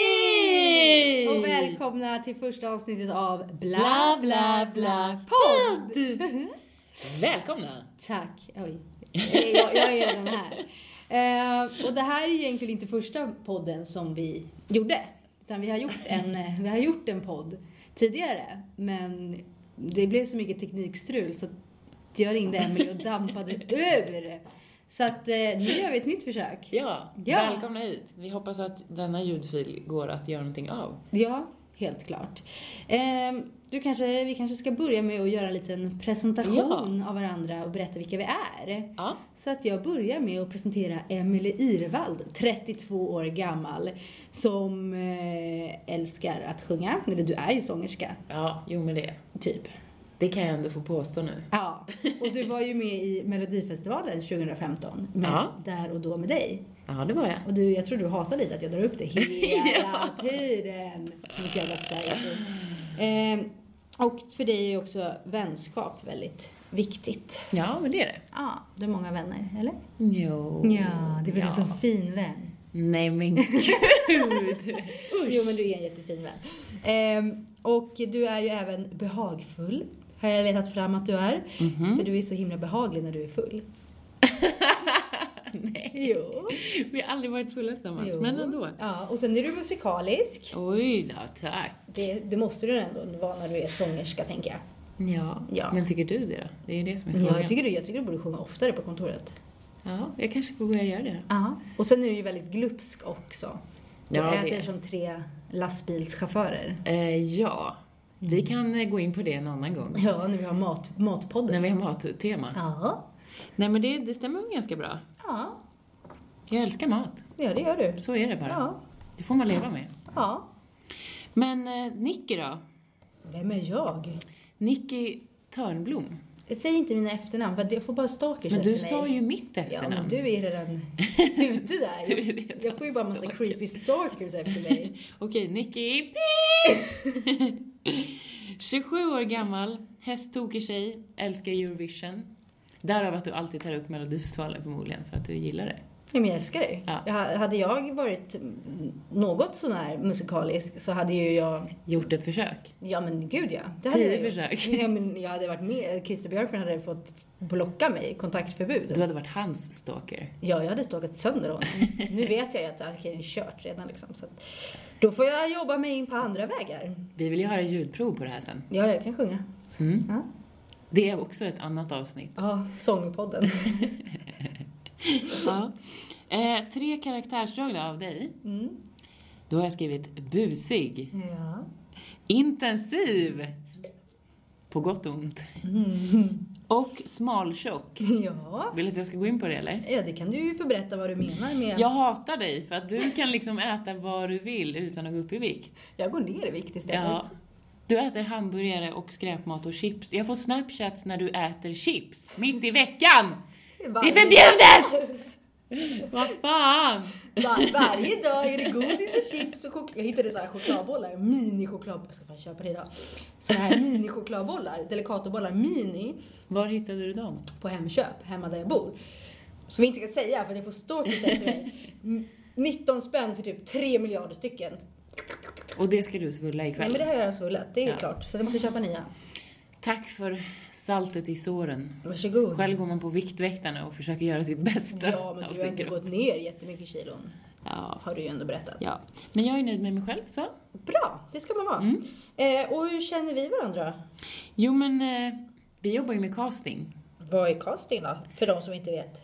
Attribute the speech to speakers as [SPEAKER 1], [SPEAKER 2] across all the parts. [SPEAKER 1] Hej!
[SPEAKER 2] Och välkomna till första avsnittet av Bla
[SPEAKER 1] Bla,
[SPEAKER 2] Bla
[SPEAKER 1] bla,
[SPEAKER 2] Bla,
[SPEAKER 1] bla,
[SPEAKER 2] Podd!
[SPEAKER 1] Välkomna!
[SPEAKER 2] Tack! Oj, jag, jag är redan här. Eh, och det här är ju egentligen inte första podden som vi gjorde. Utan vi har gjort en, eh, vi har gjort en podd tidigare. Men det blev så mycket teknikstrul så att jag ringde Emelie och dampade ur. Så att eh, nu gör vi ett nytt försök.
[SPEAKER 1] Ja,
[SPEAKER 2] Ja.
[SPEAKER 1] välkomna hit. Vi hoppas att denna ljudfil går att göra någonting av.
[SPEAKER 2] Ja, helt klart. Ehm, du kanske, vi kanske ska börja med att göra en liten presentation av varandra och berätta vilka vi är.
[SPEAKER 1] Ja,
[SPEAKER 2] Så att jag börjar med att presentera Emelie Irvald, 32 år gammal, som eh, älskar att sjunga. Eller du är ju sångerska,
[SPEAKER 1] ja jo men det.
[SPEAKER 2] typ.
[SPEAKER 1] Det kan jag ändå få påstå nu.
[SPEAKER 2] Ja, och du var ju med i Melodifestivalen 2015, med
[SPEAKER 1] Ja.
[SPEAKER 2] Där och då med dig.
[SPEAKER 1] Ja, det var jag.
[SPEAKER 2] Och du, jag tror du hatar lite att jag drar upp det hela tiden. Som ett jävla psycho. Ehm, och för dig är ju också vänskap väldigt viktigt.
[SPEAKER 1] Ja, men det är det.
[SPEAKER 2] Ja, du har många vänner, eller?
[SPEAKER 1] Jo.
[SPEAKER 2] Ja, det blir en sån fin vän.
[SPEAKER 1] Nej men gud!
[SPEAKER 2] Jo, men du är en jättefin vän. Ehm, och du är ju även behagfull. Har jag letat fram att du är. För du är så himla behaglig när du är full.
[SPEAKER 1] Nej,
[SPEAKER 2] Jo.
[SPEAKER 1] vi har aldrig varit fulla tillsammans,
[SPEAKER 2] jo.
[SPEAKER 1] men ändå.
[SPEAKER 2] Ja, och sen är du musikalisk.
[SPEAKER 1] Oj då, tack.
[SPEAKER 2] Det, det måste du ändå vara när du är sångerska, tänker jag.
[SPEAKER 1] Ja.
[SPEAKER 2] Ja.
[SPEAKER 1] men tycker du det då? Det är ju det som är frågan.
[SPEAKER 2] Ja, jag tycker, du, jag tycker du borde sjunga oftare på kontoret.
[SPEAKER 1] ja, jag kanske får börja göra det.
[SPEAKER 2] Ja. Och sen är du ju väldigt glupsk också. Du
[SPEAKER 1] Ja, det
[SPEAKER 2] äter
[SPEAKER 1] är.
[SPEAKER 2] som tre lastbilschaufförer.
[SPEAKER 1] Eh, ja, vi kan eh, gå in på det en annan gång.
[SPEAKER 2] Ja, när vi har mat, matpodden.
[SPEAKER 1] När vi har mattema.
[SPEAKER 2] Ja.
[SPEAKER 1] Nej men det, det stämmer väl ganska bra.
[SPEAKER 2] ja.
[SPEAKER 1] Jag älskar mat.
[SPEAKER 2] Ja, det gör du.
[SPEAKER 1] Så är det bara.
[SPEAKER 2] Ja.
[SPEAKER 1] Det får man leva med.
[SPEAKER 2] ja.
[SPEAKER 1] Men eh, Nicky då?
[SPEAKER 2] Vem är jag?
[SPEAKER 1] Nicky Törnblom.
[SPEAKER 2] Säg inte mina efternamn, för att jag får bara stalkers
[SPEAKER 1] Men
[SPEAKER 2] efter
[SPEAKER 1] du
[SPEAKER 2] mig.
[SPEAKER 1] sa ju mitt
[SPEAKER 2] Ja, men
[SPEAKER 1] efternamn.
[SPEAKER 2] du är redan ute där.
[SPEAKER 1] Du är redan
[SPEAKER 2] jag får ju bara massa creepy stalkers efter mig.
[SPEAKER 1] Okej, Nicky. 27 år gammal, hästtokig tjej, älskar Eurovision. Därav att du alltid tar upp Melodifestivalen förmodligen, för att du gillar det.
[SPEAKER 2] Nej, men jag älskar dig.
[SPEAKER 1] Ja.
[SPEAKER 2] Jag, hade jag varit mm, något sån här musikalisk så hade ju jag
[SPEAKER 1] Gjort ett försök.
[SPEAKER 2] Ja men gud ja. Det
[SPEAKER 1] Tio
[SPEAKER 2] jag gjort.
[SPEAKER 1] försök.
[SPEAKER 2] Ja, men jag hade varit med. Christer Björkman hade fått blocka mig, kontaktförbud.
[SPEAKER 1] Du hade varit hans stalker.
[SPEAKER 2] Ja, jag hade stalkat sönder honom. nu vet jag ju att det är kört redan liksom. Så att, då får jag jobba mig in på andra vägar.
[SPEAKER 1] Vi vill ju höra ljudprov på det här sen.
[SPEAKER 2] Ja, jag kan sjunga.
[SPEAKER 1] Mm.
[SPEAKER 2] Ja,
[SPEAKER 1] Det är också ett annat avsnitt.
[SPEAKER 2] ja sångpodden.
[SPEAKER 1] Ja. Eh, tre karaktärsdrag då av dig.
[SPEAKER 2] Mm.
[SPEAKER 1] Då har jag skrivit busig,
[SPEAKER 2] Ja.
[SPEAKER 1] intensiv, på gott och ont,
[SPEAKER 2] Mm.
[SPEAKER 1] och smaltjock.
[SPEAKER 2] ja.
[SPEAKER 1] Vill du att jag ska gå in på det eller?
[SPEAKER 2] Ja, det kan du ju få berätta vad du menar med.
[SPEAKER 1] Jag hatar dig för att du kan liksom äta vad du vill utan att gå upp i vikt.
[SPEAKER 2] Jag går ner i vikt istället.
[SPEAKER 1] Ja. Du äter hamburgare och skräpmat och chips. Jag får snapchats när du äter chips, mitt i veckan! Det är förbjudet! Vad fan!
[SPEAKER 2] Var, varje dag är det godis och chips och choklad. Jag hittade så här chokladbollar, mini-chokladbollar. Jag ska fan köpa det idag. Så här mini-chokladbollar, Delicatobollar mini
[SPEAKER 1] Var hittade du dem?
[SPEAKER 2] på Hemköp, hemma där jag bor. Som vi inte kan säga för det får stalkers efter mig. Mm, 19 spänn för typ 3 miljarder stycken.
[SPEAKER 1] Och det ska du svulla
[SPEAKER 2] Nej,
[SPEAKER 1] ikväll.
[SPEAKER 2] men det har jag redan svullat, det är
[SPEAKER 1] Ja.
[SPEAKER 2] klart. Så jag måste köpa nya.
[SPEAKER 1] Tack för saltet i såren.
[SPEAKER 2] Varsågod.
[SPEAKER 1] Själv går man på Viktväktarna och försöker göra sitt bästa
[SPEAKER 2] Ja, men
[SPEAKER 1] av
[SPEAKER 2] du har
[SPEAKER 1] sin
[SPEAKER 2] ändå
[SPEAKER 1] kropp.
[SPEAKER 2] gått ner jättemycket kilon.
[SPEAKER 1] Ja,
[SPEAKER 2] Har du ju ändå berättat.
[SPEAKER 1] ja. Men jag är nöjd med mig själv, så.
[SPEAKER 2] Bra, det ska man vara.
[SPEAKER 1] Mm.
[SPEAKER 2] Eh, och hur känner vi varandra?
[SPEAKER 1] Jo, men eh, vi jobbar ju med casting.
[SPEAKER 2] Vad är casting då? För de som inte vet.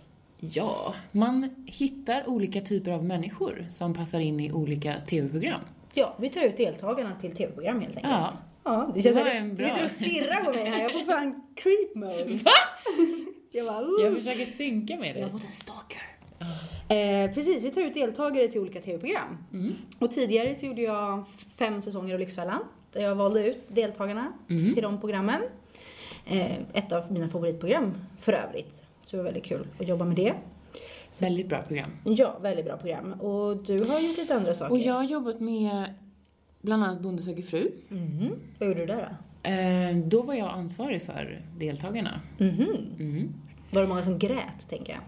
[SPEAKER 1] Ja, man hittar olika typer av människor som passar in i olika TV-program.
[SPEAKER 2] Ja, vi tar ut deltagarna till tv-program helt enkelt.
[SPEAKER 1] Ja.
[SPEAKER 2] Ja, det
[SPEAKER 1] Det
[SPEAKER 2] känns
[SPEAKER 1] var
[SPEAKER 2] väldigt-
[SPEAKER 1] en
[SPEAKER 2] Du
[SPEAKER 1] bra-
[SPEAKER 2] sitter och stirrar på mig här, jag får fan creep mode. Va? Jag bara, uh.
[SPEAKER 1] Jag försöker synka med
[SPEAKER 2] jag har
[SPEAKER 1] dig.
[SPEAKER 2] fått en stalker. Eh, precis, vi tar ut deltagare till olika tv-program.
[SPEAKER 1] Mm.
[SPEAKER 2] Och tidigare så gjorde jag fem säsonger av Lyxfällan. Där jag valde ut deltagarna
[SPEAKER 1] Mm.
[SPEAKER 2] till de programmen. Eh, ett av mina favoritprogram för övrigt. Så det var väldigt kul att jobba med det.
[SPEAKER 1] Väldigt bra program.
[SPEAKER 2] Ja, väldigt bra program. Och du har gjort lite andra saker.
[SPEAKER 1] Och jag har jobbat med bland annat Bonde söker fru.
[SPEAKER 2] Mhm. Vad gjorde du där
[SPEAKER 1] Eh, Då var jag ansvarig för deltagarna.
[SPEAKER 2] då? Mhm.
[SPEAKER 1] Mm.
[SPEAKER 2] Var det många som grät, tänker jag?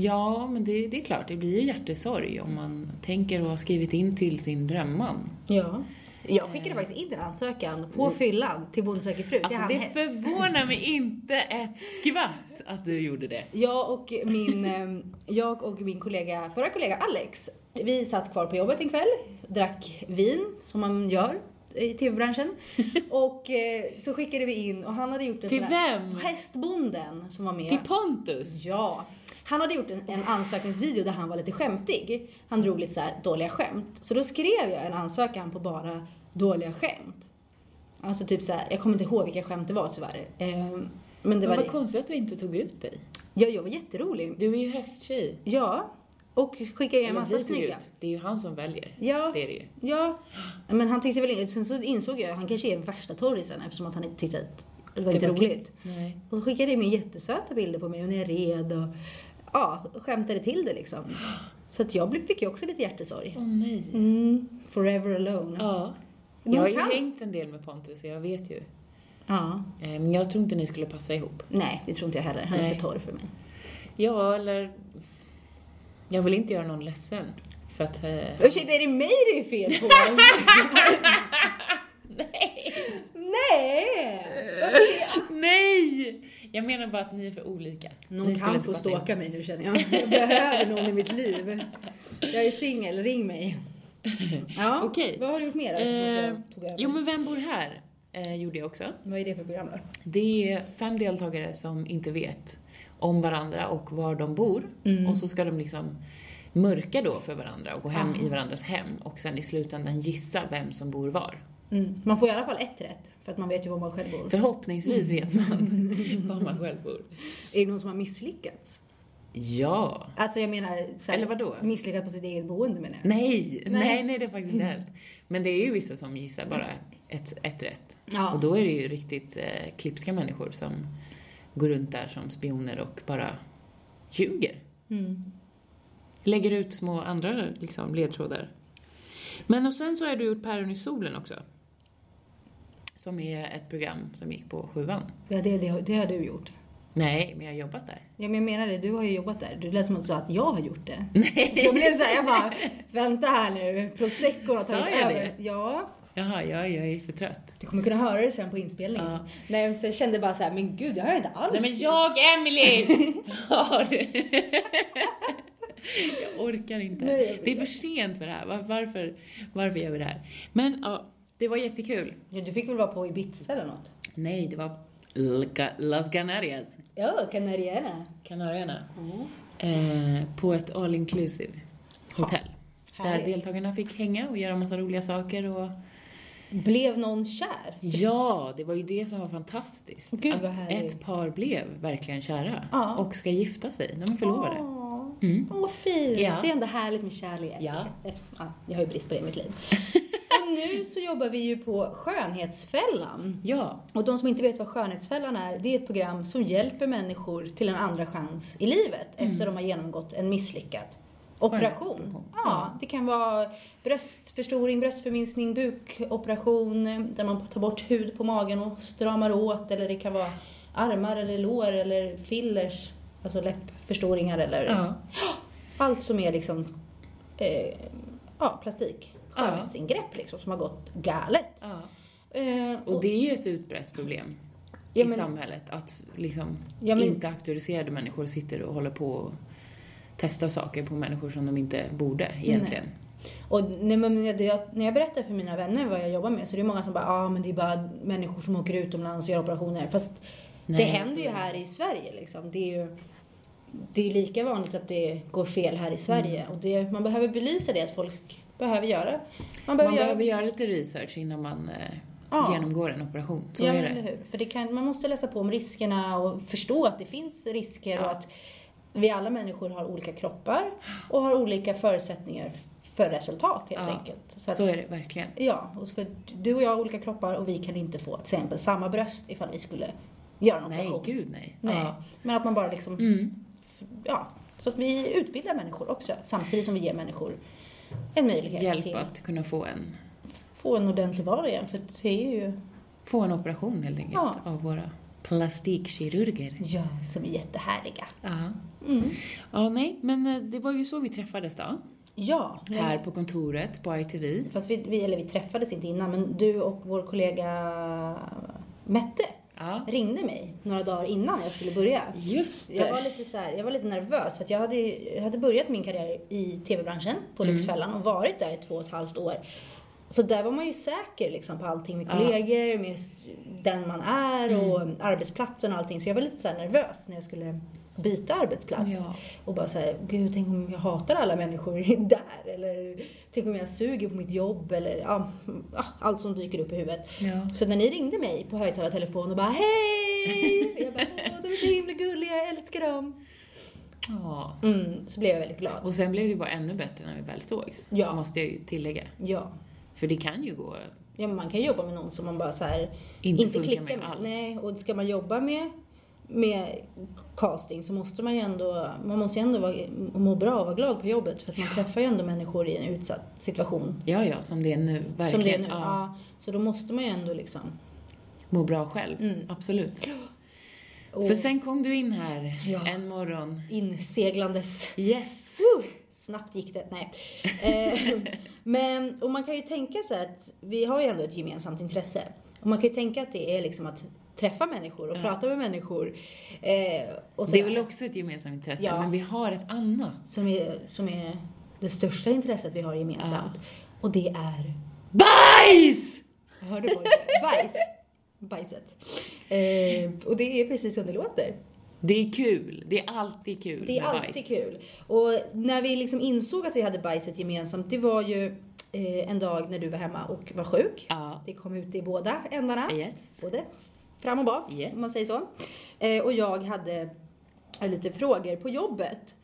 [SPEAKER 1] Ja, men det, det är klart, det blir ju hjärtesorg om man tänker och har skrivit in till sin drömman.
[SPEAKER 2] Ja. Eh. Mm. Jag skickade faktiskt in en ansökan på fyllan till Bonde söker fru. till
[SPEAKER 1] Alltså
[SPEAKER 2] han
[SPEAKER 1] det
[SPEAKER 2] Hett.
[SPEAKER 1] förvånar mig inte ett skvatt att du gjorde det.
[SPEAKER 2] Jag och min, ehm, jag och min kollega, förra kollega Alex, vi satt kvar på jobbet en kväll, drack vin som man gör i tv-branschen och eh, så skickade vi in och han hade gjort en
[SPEAKER 1] Till
[SPEAKER 2] sån här-
[SPEAKER 1] vem?
[SPEAKER 2] Hästbonden som var med.
[SPEAKER 1] Till Pontus!
[SPEAKER 2] Ja. Han hade gjort en, en ansökningsvideo där han var lite skämtig. Han drog lite så här dåliga skämt. Så då skrev jag en ansökan på bara dåliga skämt. Alltså typ så här, jag kommer inte ihåg vilka skämt det var tyvärr. Ehm, men det
[SPEAKER 1] Men
[SPEAKER 2] var
[SPEAKER 1] vad
[SPEAKER 2] det.
[SPEAKER 1] konstigt att vi inte tog ut dig.
[SPEAKER 2] Ja, jag var jätterolig.
[SPEAKER 1] Du är ju hästtjej.
[SPEAKER 2] Ja, och skickade ju en
[SPEAKER 1] Eller
[SPEAKER 2] massa
[SPEAKER 1] vi tog
[SPEAKER 2] snygga.
[SPEAKER 1] ut. Det är ju han som väljer.
[SPEAKER 2] Ja,
[SPEAKER 1] Det är det ju.
[SPEAKER 2] ja. Men han tyckte väl inte... Sen så insåg jag att han kanske är värsta torrisen eftersom att han inte tyckte att det var inte
[SPEAKER 1] Det var-
[SPEAKER 2] roligt.
[SPEAKER 1] Nej.
[SPEAKER 2] Och så skickade de mig jättesöta bilder på mig och när jag red och ja, skämtade till det liksom. Så att jag blev- fick ju också lite hjärtesorg.
[SPEAKER 1] Åh nej.
[SPEAKER 2] Mm, forever alone. Ja.
[SPEAKER 1] Ja.
[SPEAKER 2] Men
[SPEAKER 1] Jag har ju
[SPEAKER 2] kan-
[SPEAKER 1] hängt en del med Pontus så jag vet ju. Eh, Men jag tror inte ni skulle passa ihop.
[SPEAKER 2] Nej, det tror inte jag heller. Han är
[SPEAKER 1] Nej.
[SPEAKER 2] för torr för mig.
[SPEAKER 1] Ja, eller... Jag vill inte göra någon ledsen. För att... Eh...
[SPEAKER 2] Ursäkta, är det mig det är fel på? Nej! Nej!
[SPEAKER 1] Nej! Jag menar bara att ni är för olika.
[SPEAKER 2] Någon
[SPEAKER 1] ni skulle
[SPEAKER 2] kan
[SPEAKER 1] inte
[SPEAKER 2] få
[SPEAKER 1] passa ihop.
[SPEAKER 2] ståka mig nu känner jag. Jag behöver någon i mitt liv. Jag är singel, ring mig. Ja,
[SPEAKER 1] Okej. Eh,
[SPEAKER 2] vad har du gjort mer då? eftersom att jag tog över?
[SPEAKER 1] Jo, men Vem bor här? Eh, gjorde jag också.
[SPEAKER 2] Vad är det för program då?
[SPEAKER 1] Det är fem deltagare som inte vet om varandra och var de bor. Och så ska de liksom mörka då för varandra och gå hem i varandras hem och sen i slutändan gissa vem som bor var.
[SPEAKER 2] Mm. Man får i alla fall ett rätt, för att man vet ju var man själv bor.
[SPEAKER 1] Förhoppningsvis vet man var man själv bor.
[SPEAKER 2] Är det någon som har misslyckats?
[SPEAKER 1] Ja.
[SPEAKER 2] Alltså jag menar, så här,
[SPEAKER 1] Eller vadå?
[SPEAKER 2] misslyckats på sitt eget boende menar jag.
[SPEAKER 1] Nej,
[SPEAKER 2] Nej.
[SPEAKER 1] nej, nej, det är faktiskt inte helt. Men det är ju vissa som gissar bara ett, ett rätt.
[SPEAKER 2] Ja.
[SPEAKER 1] Och då är det ju riktigt eh, klipska människor som går runt där som spioner och bara ljuger.
[SPEAKER 2] Mm.
[SPEAKER 1] Lägger ut små andra liksom, ledtrådar. Men och sen så har du gjort Päron i solen också. Som är ett program som gick på sjuan.
[SPEAKER 2] Ja, det, det, det har du gjort.
[SPEAKER 1] Nej, men jag har jobbat där.
[SPEAKER 2] Ja, men jag menar det, du har ju jobbat där. Du lät som att du sa att jag har gjort det. Nej. Så jag blev såhär, jag bara, vänta här nu, prosecco har
[SPEAKER 1] Sa
[SPEAKER 2] tagit
[SPEAKER 1] jag
[SPEAKER 2] över.
[SPEAKER 1] det?
[SPEAKER 2] Ja.
[SPEAKER 1] Jaha, jag, jag är för trött.
[SPEAKER 2] Du kommer kunna höra det sen på inspelningen.
[SPEAKER 1] Ja.
[SPEAKER 2] Nej, men så jag kände bara så här, men gud, det har jag inte alls
[SPEAKER 1] Nej men jag, Emily har... jag orkar inte.
[SPEAKER 2] Nej, jag vet.
[SPEAKER 1] det är för sent för det här. Var- Varför, varför gör vi det här? Men ja, det var jättekul.
[SPEAKER 2] Ja, du fick väl vara på Ibiza eller något?
[SPEAKER 1] Nej, det var Lca- Las Canarias,
[SPEAKER 2] Ja, Kanarierna.
[SPEAKER 1] Kanarierna, eh, på ett all inclusive hotell.
[SPEAKER 2] härligt.
[SPEAKER 1] Där deltagarna fick hänga och göra massa roliga saker och
[SPEAKER 2] Blev någon kär?
[SPEAKER 1] Ja, det var ju det som var fantastiskt.
[SPEAKER 2] Gud, vad
[SPEAKER 1] att
[SPEAKER 2] härligt.
[SPEAKER 1] ett par blev verkligen kära
[SPEAKER 2] Ja.
[SPEAKER 1] och ska gifta sig. De är förlovade.
[SPEAKER 2] Åh,
[SPEAKER 1] Mm.
[SPEAKER 2] Åh, vad fint.
[SPEAKER 1] Ja.
[SPEAKER 2] Det är ändå härligt med kärlek.
[SPEAKER 1] Ja.
[SPEAKER 2] Efter- ja. Jag har ju brist på det i mitt liv. och nu så jobbar vi ju på Skönhetsfällan.
[SPEAKER 1] Ja,
[SPEAKER 2] Och de som inte vet vad Skönhetsfällan är, det är ett program som hjälper människor till en andra chans i livet efter de har genomgått en misslyckad operation.
[SPEAKER 1] Mm. Skönhetsoperation. Mm.
[SPEAKER 2] Ja, det kan vara bröstförstoring, bröstförminskning, bukoperation eh, där man tar bort hud på magen och stramar åt eller det kan vara armar eller lår eller fillers, alltså läppförstoringar eller
[SPEAKER 1] Ja.
[SPEAKER 2] allt som är liksom eh, ja, plastik.
[SPEAKER 1] Ja.
[SPEAKER 2] Skönhetsingrepp liksom som har gått galet.
[SPEAKER 1] ja.
[SPEAKER 2] Eh,
[SPEAKER 1] Och det är ju ett utbrett problem i
[SPEAKER 2] Ja, men-
[SPEAKER 1] samhället att liksom
[SPEAKER 2] Ja, men-
[SPEAKER 1] inte auktoriserade människor sitter och håller på och testar saker på människor som de inte borde egentligen.
[SPEAKER 2] Och nej, men jag- det jag, när jag berättar för mina vänner vad jag jobbar med så är det många som bara ah, men det är bara människor som åker utomlands och gör operationer. Fast
[SPEAKER 1] Nej,
[SPEAKER 2] det
[SPEAKER 1] så
[SPEAKER 2] händer ju
[SPEAKER 1] är det
[SPEAKER 2] här i Sverige liksom. Det är ju det är lika vanligt att det går fel här i Sverige.
[SPEAKER 1] Mm.
[SPEAKER 2] Och det, man behöver belysa det att folk behöver göra. Man
[SPEAKER 1] Man
[SPEAKER 2] behöver göra...
[SPEAKER 1] behöver göra lite research innan man eh,
[SPEAKER 2] Ja.
[SPEAKER 1] genomgår en operation. Så
[SPEAKER 2] ja,
[SPEAKER 1] är
[SPEAKER 2] men
[SPEAKER 1] det.
[SPEAKER 2] eller hur? För det kan, man måste läsa på om riskerna och förstå att det finns risker
[SPEAKER 1] Ja.
[SPEAKER 2] och att vi alla människor har olika kroppar och har olika förutsättningar för resultat helt
[SPEAKER 1] Ja,
[SPEAKER 2] enkelt.
[SPEAKER 1] Så,
[SPEAKER 2] att-
[SPEAKER 1] är det verkligen.
[SPEAKER 2] Ja, och så för du och jag har olika kroppar och vi kan inte få till exempel samma bröst ifall vi skulle göra en
[SPEAKER 1] Nej,
[SPEAKER 2] operation.
[SPEAKER 1] gud nej.
[SPEAKER 2] Nej,
[SPEAKER 1] Ja.
[SPEAKER 2] men att man bara liksom,
[SPEAKER 1] Mm.
[SPEAKER 2] ja, så att vi utbildar människor också samtidigt som vi ger människor en möjlighet
[SPEAKER 1] Hjälp
[SPEAKER 2] till
[SPEAKER 1] att kunna få en
[SPEAKER 2] få en ordentlig var igen, för det är ju...
[SPEAKER 1] Få en operation helt enkelt
[SPEAKER 2] Ja.
[SPEAKER 1] av våra plastikkirurger.
[SPEAKER 2] Ja, som är jättehärliga.
[SPEAKER 1] Ja.
[SPEAKER 2] Mm.
[SPEAKER 1] ja, nej, men eh, det var ju så vi träffades då.
[SPEAKER 2] Ja, men-
[SPEAKER 1] Här på kontoret på ITV.
[SPEAKER 2] Fast vi, vi, eller vi träffades inte innan, men du och vår kollega Mette
[SPEAKER 1] Ja.
[SPEAKER 2] ringde mig några dagar innan jag skulle börja.
[SPEAKER 1] Just
[SPEAKER 2] Jag var lite, så här, jag var lite nervös, för att jag, hade, jag hade börjat min karriär i tv-branschen på
[SPEAKER 1] Mm.
[SPEAKER 2] Lyxfällan och varit där i två och ett halvt år. Så där var man ju säker liksom, på allting med
[SPEAKER 1] Ja. Mm.
[SPEAKER 2] kollegor, med s- den man är och arbetsplatsen och allting. Så jag var lite så här nervös när jag skulle byta arbetsplats.
[SPEAKER 1] Ja.
[SPEAKER 2] Och bara såhär, gud tänk om jag hatar alla människor där. Eller tänk om jag suger på mitt jobb. Eller ja, ah, allt som dyker upp i huvudet.
[SPEAKER 1] Ja.
[SPEAKER 2] Så när ni ringde mig på högtalartelefon och bara hej! Jag bara, åh de är så himla gulliga, jag älskar dem.
[SPEAKER 1] ja.
[SPEAKER 2] Mm, så blev jag väldigt glad.
[SPEAKER 1] Och sen blev det bara ännu bättre när vi väl sågs.
[SPEAKER 2] Ja.
[SPEAKER 1] Måste jag ju tillägga.
[SPEAKER 2] Ja.
[SPEAKER 1] För det kan ju gå
[SPEAKER 2] ja, men man kan jobba med någon som man bara såhär
[SPEAKER 1] Inte
[SPEAKER 2] inte,
[SPEAKER 1] funkar
[SPEAKER 2] klickar
[SPEAKER 1] med
[SPEAKER 2] med.
[SPEAKER 1] alls.
[SPEAKER 2] Nej, och ska man jobba med med casting så måste man ju ändå, man måste ju ändå vara, må bra och vara glad på jobbet för att man träffar ju ändå människor i en utsatt situation.
[SPEAKER 1] Ja, ja, som det är nu. Verkligen.
[SPEAKER 2] Som det är nu.
[SPEAKER 1] Ja.
[SPEAKER 2] Ja. Så då måste man ju ändå liksom...
[SPEAKER 1] Må bra själv.
[SPEAKER 2] Mm.
[SPEAKER 1] Absolut.
[SPEAKER 2] Och
[SPEAKER 1] För sen kom du in här
[SPEAKER 2] Ja.
[SPEAKER 1] en morgon.
[SPEAKER 2] inseglandes.
[SPEAKER 1] Yes!
[SPEAKER 2] Woo! Snabbt gick det. Nej. Eh, Men, och man kan ju tänka sig att vi har ju ändå ett gemensamt intresse. Och man kan ju tänka att det är liksom att träffa människor och
[SPEAKER 1] Ja.
[SPEAKER 2] prata med människor. Eh, och
[SPEAKER 1] Det är
[SPEAKER 2] sådär.
[SPEAKER 1] väl också ett gemensamt intresse,
[SPEAKER 2] Ja.
[SPEAKER 1] men vi har ett annat.
[SPEAKER 2] som, är, som är det största intresset vi har gemensamt. Och det är
[SPEAKER 1] BAJS!
[SPEAKER 2] Jag hörde på det. Bajs. Bajset. Eh, och det är precis som det låter.
[SPEAKER 1] Det är kul. Det är alltid kul
[SPEAKER 2] Det är
[SPEAKER 1] med
[SPEAKER 2] alltid
[SPEAKER 1] bajs.
[SPEAKER 2] kul. Och när vi liksom insåg att vi hade bajset gemensamt, det var ju eh, en dag när du var hemma och var sjuk.
[SPEAKER 1] Ja.
[SPEAKER 2] Det kom ut i båda ändarna.
[SPEAKER 1] Yes.
[SPEAKER 2] Både fram och bak,
[SPEAKER 1] Yes.
[SPEAKER 2] om man säger så. Eh, och jag hade eh, lite frågor på jobbet.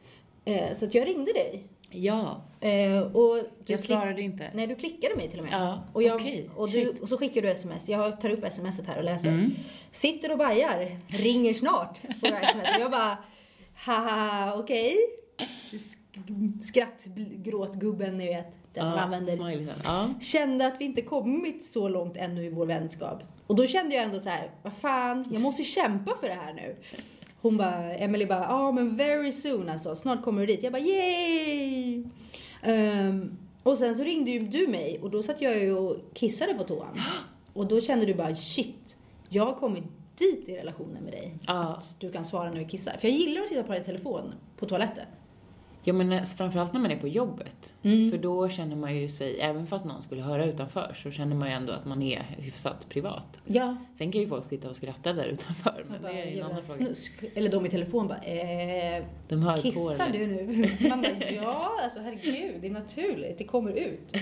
[SPEAKER 2] Eh, så att jag ringde dig.
[SPEAKER 1] Ja.
[SPEAKER 2] Eh, och du
[SPEAKER 1] Jag
[SPEAKER 2] klick-
[SPEAKER 1] svarade inte.
[SPEAKER 2] Nej, du klickade mig till och med.
[SPEAKER 1] Ja,
[SPEAKER 2] och, jag,
[SPEAKER 1] okej. Mm.
[SPEAKER 2] och, du, och så skickar du sms. Jag tar upp smset här och läser. Sitter och bajar. Ringer snart. Får jag sms. Jag bara, haha, okej. Sk- Skratt, gråtgubben, ni vet. Den man
[SPEAKER 1] Ja,
[SPEAKER 2] använder.
[SPEAKER 1] smileysen. Ja.
[SPEAKER 2] Kände att vi inte kommit så långt ännu i vår vänskap. Och då kände jag ändå så här, vad fan, jag måste kämpa för det här nu. Hon bara, Emily bara, ja ah, men very soon alltså, snart kommer du dit. Jag bara, yay! Ehm, och sen så ringde ju du mig och då satt jag ju och kissade på toan. Och då kände du bara, shit, jag har kommit dit i relationen med dig.
[SPEAKER 1] Ja.
[SPEAKER 2] Att du kan svara när vi kissar. För jag gillar att sitta och prata i telefon på toaletten.
[SPEAKER 1] Ja men eh, framförallt när man är på jobbet.
[SPEAKER 2] Mm.
[SPEAKER 1] För då känner man ju sig, även fast någon skulle höra utanför, så känner man ju ändå att man är hyfsat privat.
[SPEAKER 2] Ja.
[SPEAKER 1] Sen kan ju folk sitta och skratta där utanför, men det är ju en
[SPEAKER 2] jävla
[SPEAKER 1] annan fråga.
[SPEAKER 2] snusk. Eller de i telefon bara, eh,
[SPEAKER 1] De hör på
[SPEAKER 2] Kissar
[SPEAKER 1] det.
[SPEAKER 2] du nu? Man bara, ja, alltså herregud, det är naturligt, det kommer ut.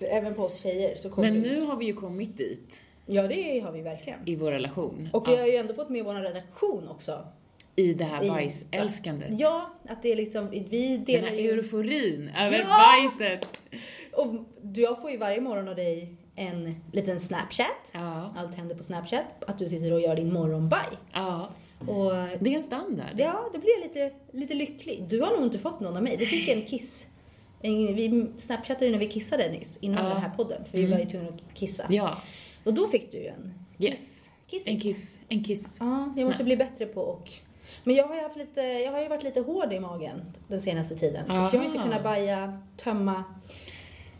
[SPEAKER 2] Även på oss tjejer så kommer
[SPEAKER 1] Men
[SPEAKER 2] det
[SPEAKER 1] nu
[SPEAKER 2] ut.
[SPEAKER 1] har vi ju kommit dit
[SPEAKER 2] Ja, det har vi verkligen.
[SPEAKER 1] i vår relation.
[SPEAKER 2] Och
[SPEAKER 1] att
[SPEAKER 2] vi har ju ändå fått med vår redaktion också.
[SPEAKER 1] I det här
[SPEAKER 2] i-
[SPEAKER 1] bajsälskandet.
[SPEAKER 2] Ja, att det är liksom, vi
[SPEAKER 1] Den
[SPEAKER 2] delar
[SPEAKER 1] här
[SPEAKER 2] ju...
[SPEAKER 1] euforin över
[SPEAKER 2] Ja!
[SPEAKER 1] bajset.
[SPEAKER 2] Och du- jag får ju varje morgon av dig en liten Snapchat.
[SPEAKER 1] Ja,
[SPEAKER 2] Allt händer på Snapchat. Att du sitter och gör din morgonbaj.
[SPEAKER 1] ja.
[SPEAKER 2] Och
[SPEAKER 1] Det är en standard.
[SPEAKER 2] ja, då blir jag lite, lite lycklig. Du har nog inte fått någon av mig. Du fick en kiss. En, vi snapchattade ju när vi kissade nyss, innan
[SPEAKER 1] Ja. Mm.
[SPEAKER 2] den här podden. För vi var ju tvungna att kissa.
[SPEAKER 1] Ja.
[SPEAKER 2] Och då fick du ju en kiss.
[SPEAKER 1] Yes.
[SPEAKER 2] Kissis.
[SPEAKER 1] En kiss. En kiss.
[SPEAKER 2] Ja, jag måste bli bättre på och... Men jag har, ju haft lite, jag har ju varit lite hård i magen den senaste tiden. Så att jag har inte
[SPEAKER 1] Aha.
[SPEAKER 2] kunnat baja, tömma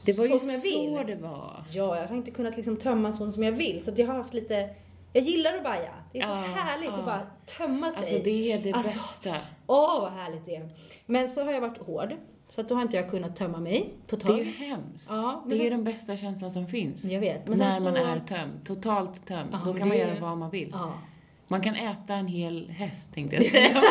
[SPEAKER 1] Det var
[SPEAKER 2] så
[SPEAKER 1] ju
[SPEAKER 2] som jag vill.
[SPEAKER 1] så det var.
[SPEAKER 2] Ja, jag har inte kunnat liksom tömma sånt som jag vill. Så att jag har haft lite... Jag gillar att baja. Det är så
[SPEAKER 1] Ja,
[SPEAKER 2] härligt
[SPEAKER 1] ja.
[SPEAKER 2] att bara tömma sig.
[SPEAKER 1] Alltså det är det
[SPEAKER 2] Alltså,
[SPEAKER 1] bästa.
[SPEAKER 2] Åh, vad härligt det är. Men så har jag varit hård. Så att då har inte jag kunnat tömma mig på ett
[SPEAKER 1] Det är
[SPEAKER 2] tag.
[SPEAKER 1] ju hemskt.
[SPEAKER 2] Ja, men
[SPEAKER 1] det är
[SPEAKER 2] sen-
[SPEAKER 1] ju den bästa känslan som finns.
[SPEAKER 2] Jag vet. sen
[SPEAKER 1] När man
[SPEAKER 2] så...
[SPEAKER 1] är tömd, totalt tömd,
[SPEAKER 2] Ja,
[SPEAKER 1] då
[SPEAKER 2] men
[SPEAKER 1] kan man
[SPEAKER 2] det är
[SPEAKER 1] göra
[SPEAKER 2] ju-
[SPEAKER 1] vad man vill.
[SPEAKER 2] Ja.
[SPEAKER 1] Man kan äta en hel häst tänkte jag säga.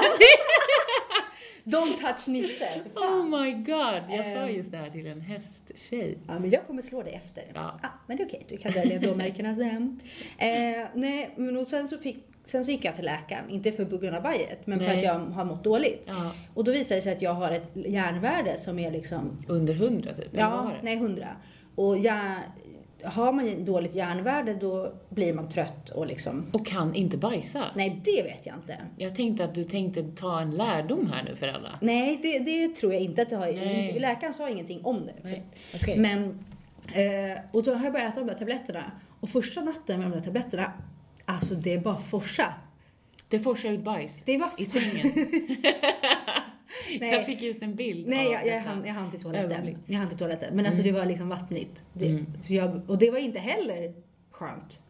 [SPEAKER 2] Don't touch Nisse. för fan.
[SPEAKER 1] oh my god, jag sa
[SPEAKER 2] Ehm.
[SPEAKER 1] just det här till en hästtjej.
[SPEAKER 2] Ja, men jag kommer slå dig efter.
[SPEAKER 1] Ja.
[SPEAKER 2] Ah, men det är okej, du kan välja blåmärkena sen. Eh, nej, men och sen, så fick, sen så gick jag till läkaren, inte för på grund av bajet, men för
[SPEAKER 1] Nej.
[SPEAKER 2] att jag har mått dåligt.
[SPEAKER 1] Ja,
[SPEAKER 2] Och då visade det sig att jag har ett järnvärde som är liksom,
[SPEAKER 1] under hundra typ, eller vad
[SPEAKER 2] ja,
[SPEAKER 1] var det?
[SPEAKER 2] nej 100. Och jag, har man ett dåligt järnvärde då blir man trött och liksom,
[SPEAKER 1] Och kan inte bajsa.
[SPEAKER 2] nej det vet jag inte.
[SPEAKER 1] Jag tänkte att du tänkte ta en lärdom här nu för alla.
[SPEAKER 2] Nej, det, det tror jag inte att det har.
[SPEAKER 1] Nej.
[SPEAKER 2] Läkaren sa ingenting om det.
[SPEAKER 1] Nej, okej.
[SPEAKER 2] Men Eh, och då har jag börjat äta de där tabletterna. Och första natten med de där tabletterna, alltså det är bara forsa.
[SPEAKER 1] Det forsar ut bajs
[SPEAKER 2] Det är bara...
[SPEAKER 1] i sängen. Jag
[SPEAKER 2] Nej.
[SPEAKER 1] fick just en bild
[SPEAKER 2] Nej,
[SPEAKER 1] av
[SPEAKER 2] jag, jag,
[SPEAKER 1] detta.
[SPEAKER 2] hann, jag hann till toaletten.
[SPEAKER 1] Ögonblick.
[SPEAKER 2] Jag hann till toaletten. Men alltså det var liksom vattnigt. Det,
[SPEAKER 1] Mm.
[SPEAKER 2] så jag, och det var inte heller skönt.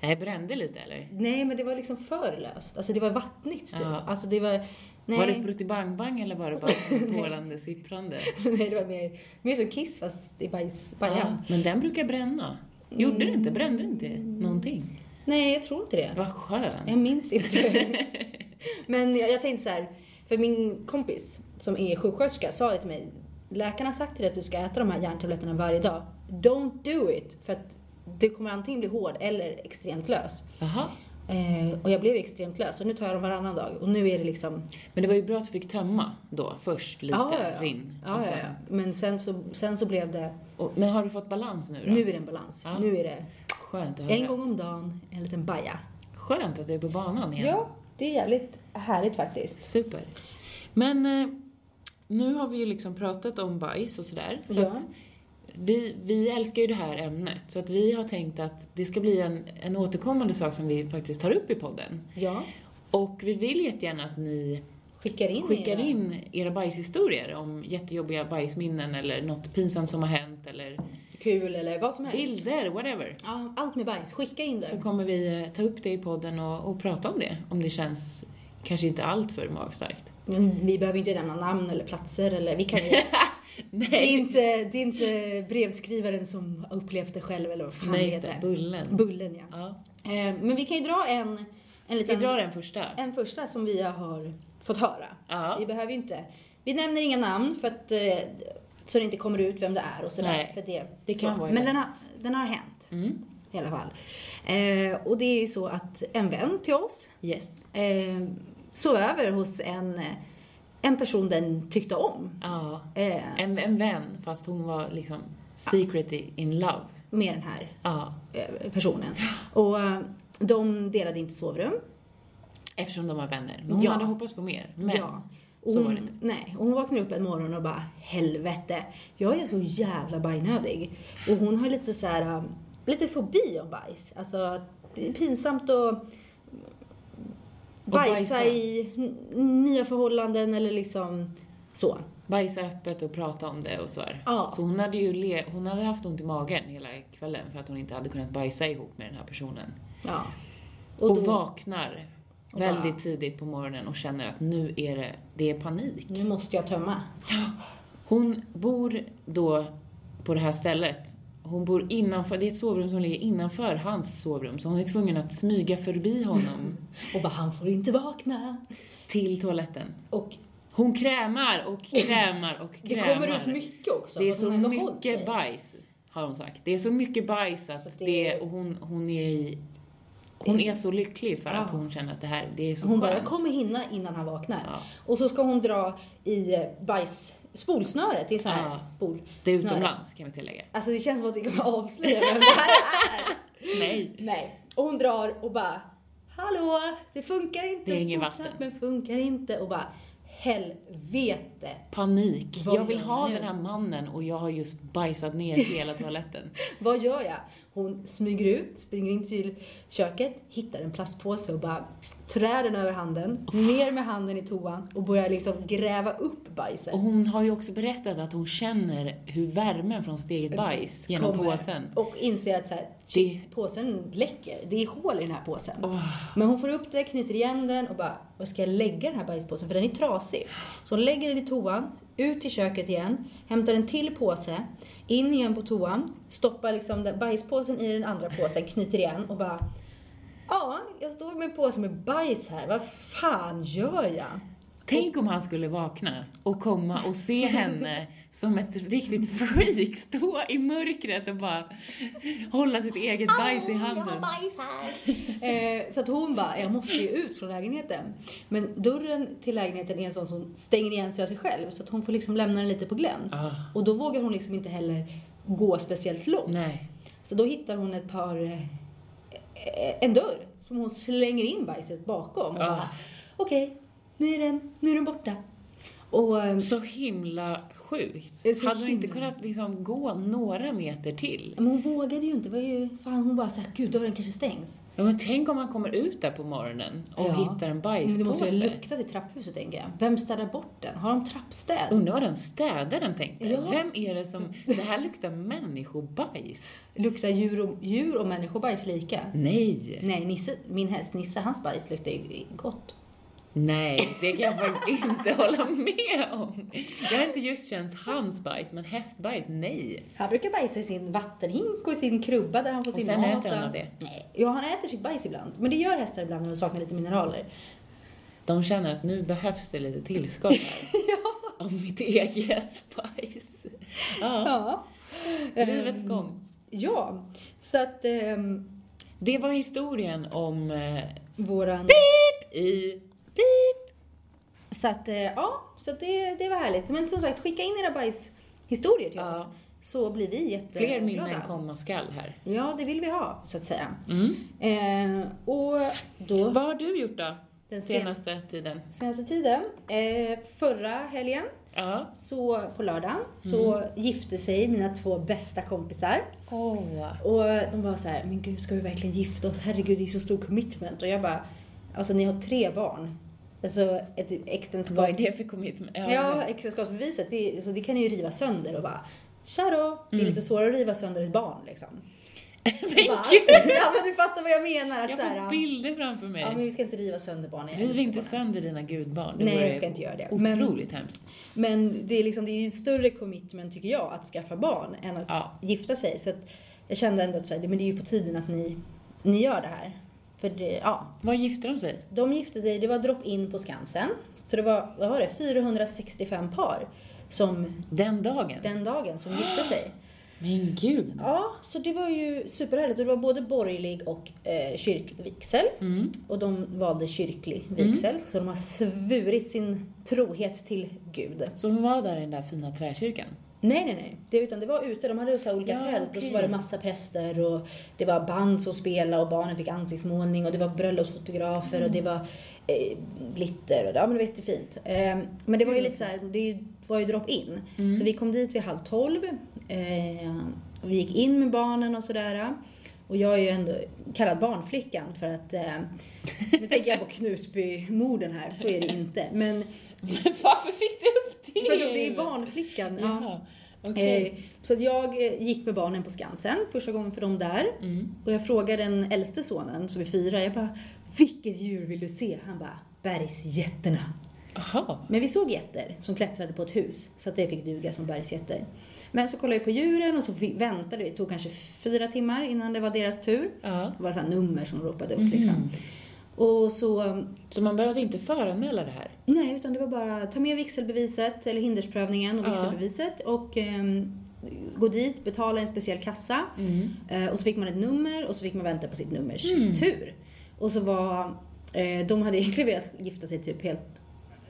[SPEAKER 1] Nej, brände lite eller?
[SPEAKER 2] Nej, men det var liksom för löst. Alltså det var vattnigt typ.
[SPEAKER 1] Ja.
[SPEAKER 2] Alltså det var... Nej,
[SPEAKER 1] Var det spruttibang-bang eller var det bara som porlande sipprande?
[SPEAKER 2] nej, det var mer, mer som kiss fast i bajs,
[SPEAKER 1] Ja,
[SPEAKER 2] bajan.
[SPEAKER 1] men den brukar bränna. Gjorde det inte? Brände det inte någonting?
[SPEAKER 2] Nej, jag tror inte det.
[SPEAKER 1] Vad skönt.
[SPEAKER 2] Jag minns inte. Men jag, jag tänkte så här, för min kompis som är sjuksköterska sa det till mig. Läkarna har sagt till dig att du ska äta de här järntabletterna varje dag. Don't do it! För att du kommer antingen bli hård eller extremt lös.
[SPEAKER 1] Jaha.
[SPEAKER 2] Eh, och jag blev extremt lös och nu tar jag dem varannan dag. Och nu är det liksom...
[SPEAKER 1] Men det var ju bra att du fick tömma då först lite
[SPEAKER 2] Ja, ja, ja.
[SPEAKER 1] rinn.
[SPEAKER 2] Ja,
[SPEAKER 1] och
[SPEAKER 2] ja,
[SPEAKER 1] sen-
[SPEAKER 2] ja. Men sen så, sen så blev det...
[SPEAKER 1] Och, men har du fått balans nu då?
[SPEAKER 2] Nu är det en balans.
[SPEAKER 1] Ja.
[SPEAKER 2] Nu är det
[SPEAKER 1] Skönt att höra.
[SPEAKER 2] en gång om dagen, en liten baja.
[SPEAKER 1] Skönt att du är på banan igen.
[SPEAKER 2] Ja, det är jävligt härligt faktiskt.
[SPEAKER 1] Super. Men eh, nu har vi ju liksom pratat om bajs och sådär. Så
[SPEAKER 2] Ja.
[SPEAKER 1] att vi, vi älskar ju det här ämnet, så att vi har tänkt att det ska bli en, en återkommande sak som vi faktiskt tar upp i podden.
[SPEAKER 2] Ja,
[SPEAKER 1] Och vi vill jättegärna att ni
[SPEAKER 2] skickar in
[SPEAKER 1] skickar
[SPEAKER 2] era-
[SPEAKER 1] in era bajshistorier om jättejobbiga bajsminnen eller något pinsamt som har hänt eller
[SPEAKER 2] kul eller vad som helst.
[SPEAKER 1] bilder, whatever.
[SPEAKER 2] Ja, allt med bajs. Skicka in det.
[SPEAKER 1] Så kommer vi eh, ta upp det i podden och, och prata om det, om det känns kanske inte allt för magstarkt.
[SPEAKER 2] Men vi behöver inte nämna namn eller platser eller vi kan ju... det, är inte, det är inte brevskrivaren som har upplevt det själv eller vad fan
[SPEAKER 1] Nej,
[SPEAKER 2] det
[SPEAKER 1] just det,
[SPEAKER 2] heter.
[SPEAKER 1] bullen.
[SPEAKER 2] Bullen ja.
[SPEAKER 1] Ja.
[SPEAKER 2] Eh, Men vi kan ju dra en, en
[SPEAKER 1] Vi
[SPEAKER 2] liten...
[SPEAKER 1] drar den första.
[SPEAKER 2] En första som vi har fått höra.
[SPEAKER 1] Ja.
[SPEAKER 2] Vi behöver ju inte... Vi nämner inga namn för att... eh, Så det inte kommer ut vem det är och sådär.
[SPEAKER 1] Nej.
[SPEAKER 2] För det, det
[SPEAKER 1] Så
[SPEAKER 2] kan
[SPEAKER 1] var
[SPEAKER 2] vara
[SPEAKER 1] det.
[SPEAKER 2] Men den har, den har hänt
[SPEAKER 1] Mm.
[SPEAKER 2] i alla fall. Eh, och det är ju så att en vän till oss
[SPEAKER 1] Yes.
[SPEAKER 2] eh, sov över hos en, eh, en person den tyckte om.
[SPEAKER 1] Ja.
[SPEAKER 2] Eh,
[SPEAKER 1] En, en vän, fast hon var liksom secret i- in love.
[SPEAKER 2] med den här
[SPEAKER 1] Ja.
[SPEAKER 2] eh, personen. Och eh, de delade inte sovrum.
[SPEAKER 1] Eftersom de var vänner. Men hon
[SPEAKER 2] Ja.
[SPEAKER 1] hade hoppats på mer. Men
[SPEAKER 2] ja.
[SPEAKER 1] så
[SPEAKER 2] hon,
[SPEAKER 1] var det inte.
[SPEAKER 2] Nej, och hon vaknar upp en morgon och bara helvete, jag är så jävla bajnödig. Och hon har lite så här, um, lite fobi om bajs. Alltså, det är pinsamt att bajsa,
[SPEAKER 1] bajsa.
[SPEAKER 2] i n- nya förhållanden eller liksom så.
[SPEAKER 1] bajsa öppet och prata om det och så här.
[SPEAKER 2] Ja.
[SPEAKER 1] Så hon hade ju le- hon hade haft ont i magen hela kvällen för att hon inte hade kunnat bajsa ihop med den här personen.
[SPEAKER 2] Ja.
[SPEAKER 1] Och,
[SPEAKER 2] då-
[SPEAKER 1] vaknar
[SPEAKER 2] Och bara-
[SPEAKER 1] väldigt tidigt på morgonen och känner att nu är det, det är panik.
[SPEAKER 2] Nu måste jag tömma.
[SPEAKER 1] Hon bor då på det här stället. Hon bor innanför, det är ett sovrum som ligger innanför hans sovrum, så hon är tvungen att smyga förbi honom
[SPEAKER 2] Och bara, han får inte vakna.
[SPEAKER 1] till toaletten.
[SPEAKER 2] Och
[SPEAKER 1] Hon krämar och krämar och
[SPEAKER 2] det
[SPEAKER 1] krämar.
[SPEAKER 2] kommer ut mycket också.
[SPEAKER 1] Det är
[SPEAKER 2] fast hon har
[SPEAKER 1] så
[SPEAKER 2] ändå hållit sig.
[SPEAKER 1] mycket bajs, har hon sagt. Det är så mycket bajs att
[SPEAKER 2] Fast
[SPEAKER 1] det,
[SPEAKER 2] det-
[SPEAKER 1] och hon, hon är i, hon är så lycklig för att
[SPEAKER 2] Ja.
[SPEAKER 1] hon känner att det här, det är så
[SPEAKER 2] Hon bara, jag
[SPEAKER 1] skönt.
[SPEAKER 2] kommer hinna innan han vaknar.
[SPEAKER 1] Ja.
[SPEAKER 2] Och så ska hon dra i eh, bajs, spolsnöret. Det är så här
[SPEAKER 1] Ja.
[SPEAKER 2] spol.
[SPEAKER 1] Det är
[SPEAKER 2] snöre.
[SPEAKER 1] utomlands kan vi tillägga.
[SPEAKER 2] Alltså det känns som att vi kommer avslöja vem det här är.
[SPEAKER 1] Nej.
[SPEAKER 2] Nej. Och hon drar och bara, hallå, det funkar inte.
[SPEAKER 1] Det är inget
[SPEAKER 2] Spolknappen funkar inte. Och bara, helvete.
[SPEAKER 1] Panik.
[SPEAKER 2] Vad
[SPEAKER 1] jag vill
[SPEAKER 2] gör
[SPEAKER 1] ha
[SPEAKER 2] man nu?
[SPEAKER 1] den här mannen och jag har just bajsat ner hela toaletten.
[SPEAKER 2] Vad gör jag? Hon smyger ut, springer in till köket, hittar en plastpåse och bara trär den över handen, ner med handen i toan och börjar liksom gräva upp bajset.
[SPEAKER 1] Och hon har ju också berättat att hon känner hur värmen från sitt eget bajs genom
[SPEAKER 2] Eh, kommer
[SPEAKER 1] påsen.
[SPEAKER 2] Och inser att så här,
[SPEAKER 1] Det-
[SPEAKER 2] påsen läcker. Det är hål i den här påsen.
[SPEAKER 1] Åh.
[SPEAKER 2] Men hon får upp det, knyter igen den och bara, vad ska jag lägga den här bajspåsen? För den är trasig. Så hon lägger den i toan, ut till köket igen, hämtar en till påse, in igen på toan, stoppar liksom den bajspåsen i den andra påsen, knyter igen och bara, ja, jag står med en påse med bajs här. Vad fan gör jag?
[SPEAKER 1] Tänk om han skulle vakna och komma och se henne som ett riktigt freak stå i mörkret och bara hålla sitt eget bajs i handen.
[SPEAKER 2] Eh, så att hon bara, jag måste ju ut från lägenheten. Men dörren till lägenheten är en sån som stänger igen sig av sig själv så att hon får liksom lämna den lite på glänt.
[SPEAKER 1] Ah.
[SPEAKER 2] Och då vågar hon liksom inte heller gå speciellt långt.
[SPEAKER 1] Nej.
[SPEAKER 2] Så då hittar hon ett par, eh, eh, en dörr som hon slänger in bajset bakom. Och
[SPEAKER 1] Ah.
[SPEAKER 2] bara, Okej, nu är den, nu är den borta. Och eh,
[SPEAKER 1] Så himla sjukt.
[SPEAKER 2] Det är så
[SPEAKER 1] Hade hon inte
[SPEAKER 2] himla-
[SPEAKER 1] kunnat liksom gå några meter till?
[SPEAKER 2] Men hon vågade ju inte. Det var ju, fan, hon bara såhär, gud dörren kanske stängs.
[SPEAKER 1] Ja, men tänk om man kommer ut där på morgonen och
[SPEAKER 2] Ja.
[SPEAKER 1] hittar en
[SPEAKER 2] Men det måste
[SPEAKER 1] bajspåse.
[SPEAKER 2] ju ha luktat i trapphuset tänker jag. Vem städar bort den? Har de trappstäd?
[SPEAKER 1] Undrar vad den städaren tänkte.
[SPEAKER 2] Ja.
[SPEAKER 1] Vem är det som... Det här luktar människobajs.
[SPEAKER 2] Luktar djur och, djur och människobajs lika?
[SPEAKER 1] Nej!
[SPEAKER 2] Nej, Nisse, min häst Nisse, hans bajs luktar ju gott.
[SPEAKER 1] Nej, det kan jag faktiskt inte hålla med om. Jag har inte just känt hans bajs, men hästbajs, nej.
[SPEAKER 2] Han brukar bajsa i sin vattenhink och i sin krubba där han får
[SPEAKER 1] Och
[SPEAKER 2] sin
[SPEAKER 1] sen
[SPEAKER 2] mat.
[SPEAKER 1] äter han av det.
[SPEAKER 2] Nej, ja, han äter sitt bajs ibland. Men det gör hästar ibland när de saknar lite mineraler.
[SPEAKER 1] De känner att nu behövs det lite tillskott här. Av mitt eget bajs. Ja,
[SPEAKER 2] Ja.
[SPEAKER 1] livets
[SPEAKER 2] Ehm,
[SPEAKER 1] gång.
[SPEAKER 2] Ja, så att ehm,
[SPEAKER 1] Det var historien om eh,
[SPEAKER 2] våran...
[SPEAKER 1] pip i pip.
[SPEAKER 2] Så att, eh, ja, så att det, det var härligt. Men som sagt, skicka in era bajshistorier till
[SPEAKER 1] Ja.
[SPEAKER 2] oss. Så blir vi jätteglada.
[SPEAKER 1] Fler minnen komma skall här.
[SPEAKER 2] Ja, det vill vi ha, så att säga.
[SPEAKER 1] Mm.
[SPEAKER 2] Eh, och då,
[SPEAKER 1] Vad har du gjort då?
[SPEAKER 2] den sen,
[SPEAKER 1] Senaste tiden?
[SPEAKER 2] senaste tiden, eh, förra helgen,
[SPEAKER 1] Ja.
[SPEAKER 2] så på lördagen, så
[SPEAKER 1] Mm.
[SPEAKER 2] gifte sig mina två bästa kompisar.
[SPEAKER 1] Åh.
[SPEAKER 2] Och de var så här, men gud ska vi verkligen gifta oss? Herregud det är så stor commitment. Och jag bara, alltså ni har tre barn. Alltså ett
[SPEAKER 1] Vad är
[SPEAKER 2] äktenskaps...
[SPEAKER 1] det för commitment? Ja,
[SPEAKER 2] Ja, äktenskapsbeviset, det, så det kan ni ju riva sönder och bara, tja då! Det är lite svårare att riva sönder ett barn liksom.
[SPEAKER 1] Mm. men
[SPEAKER 2] Bara,
[SPEAKER 1] gud!
[SPEAKER 2] ja men du fattar vad jag menar. Att
[SPEAKER 1] Jag
[SPEAKER 2] så här,
[SPEAKER 1] får bilder framför mig.
[SPEAKER 2] ja men vi ska inte riva sönder barn. i
[SPEAKER 1] Riv inte
[SPEAKER 2] äktenskapen.
[SPEAKER 1] sönder dina gudbarn.
[SPEAKER 2] Nej,
[SPEAKER 1] vore
[SPEAKER 2] jag ska inte göra det. Men-
[SPEAKER 1] Otroligt hemskt.
[SPEAKER 2] Men det är, liksom, det är ju en större commitment tycker jag att skaffa barn än att
[SPEAKER 1] Ja.
[SPEAKER 2] gifta sig. Så att jag kände ändå att så här, men det är ju på tiden att ni, ni gör det här. För det, ja,
[SPEAKER 1] Vad gifte de sig?
[SPEAKER 2] de gifte sig, det var drop-in på Skansen. Så det var, vad var det, 465 par som
[SPEAKER 1] Den dagen?
[SPEAKER 2] den dagen som gifte sig.
[SPEAKER 1] Men gud.
[SPEAKER 2] Ja, så det var ju superhärligt. Och det var både borgerlig och eh, kyrklig vigsel.
[SPEAKER 1] Mm.
[SPEAKER 2] Och de valde kyrklig vigsel. Så de har svurit sin trohet till Gud.
[SPEAKER 1] Så hon var där i den där fina träkyrkan?
[SPEAKER 2] Nej, nej, nej. Det, utan det var ute. De hade så här olika
[SPEAKER 1] Ja,
[SPEAKER 2] träd och
[SPEAKER 1] okej.
[SPEAKER 2] så var det massa präster och det var band som spelade och barnen fick ansiktsmålning och det var bröllopsfotografer
[SPEAKER 1] Mm.
[SPEAKER 2] och det var eh, glitter och ja, men det var jättefint. Eh, men det var ju
[SPEAKER 1] Mm.
[SPEAKER 2] lite så här, det var ju drop-in. Så vi kom dit vid halv tolv. Eh, och vi gick in med barnen och sådär. Och jag är ju ändå kallad barnflickan för att, eh, nu tänker jag på Knutby-morden här, så är det inte. Men
[SPEAKER 1] Men varför fick du upp det?
[SPEAKER 2] för det är barnflickan. Ja.
[SPEAKER 1] Jaha, okej.
[SPEAKER 2] Eh, Så att jag eh, gick med barnen på Skansen första gången för dem där.
[SPEAKER 1] Mm.
[SPEAKER 2] Och jag frågade den äldste sonen som är fyra, jag bara Vilket djur vill du se? Han bara Bergsjätterna.
[SPEAKER 1] Jaha.
[SPEAKER 2] Men vi såg jätter som klättrade på ett hus så att det fick duga som bergsjätter. Men så kollade vi på djuren och så fick, väntade vi, det tog kanske fyra timmar innan det var deras tur.
[SPEAKER 1] Ja.
[SPEAKER 2] Det var så här nummer som ropade upp
[SPEAKER 1] Mhm.
[SPEAKER 2] liksom. Och så
[SPEAKER 1] Så man behövde inte föranmäla det här?
[SPEAKER 2] Nej, utan det var bara ta med vigselbeviset eller hindersprövningen och
[SPEAKER 1] Ja.
[SPEAKER 2] vigselbeviset och ehm, gå dit, betala i en speciell kassa
[SPEAKER 1] Mm.
[SPEAKER 2] eh, och så fick man ett nummer och så fick man vänta på sitt nummers
[SPEAKER 1] Mm.
[SPEAKER 2] tur. Och så var, eh, de hade egentligen velat gifta sig typ helt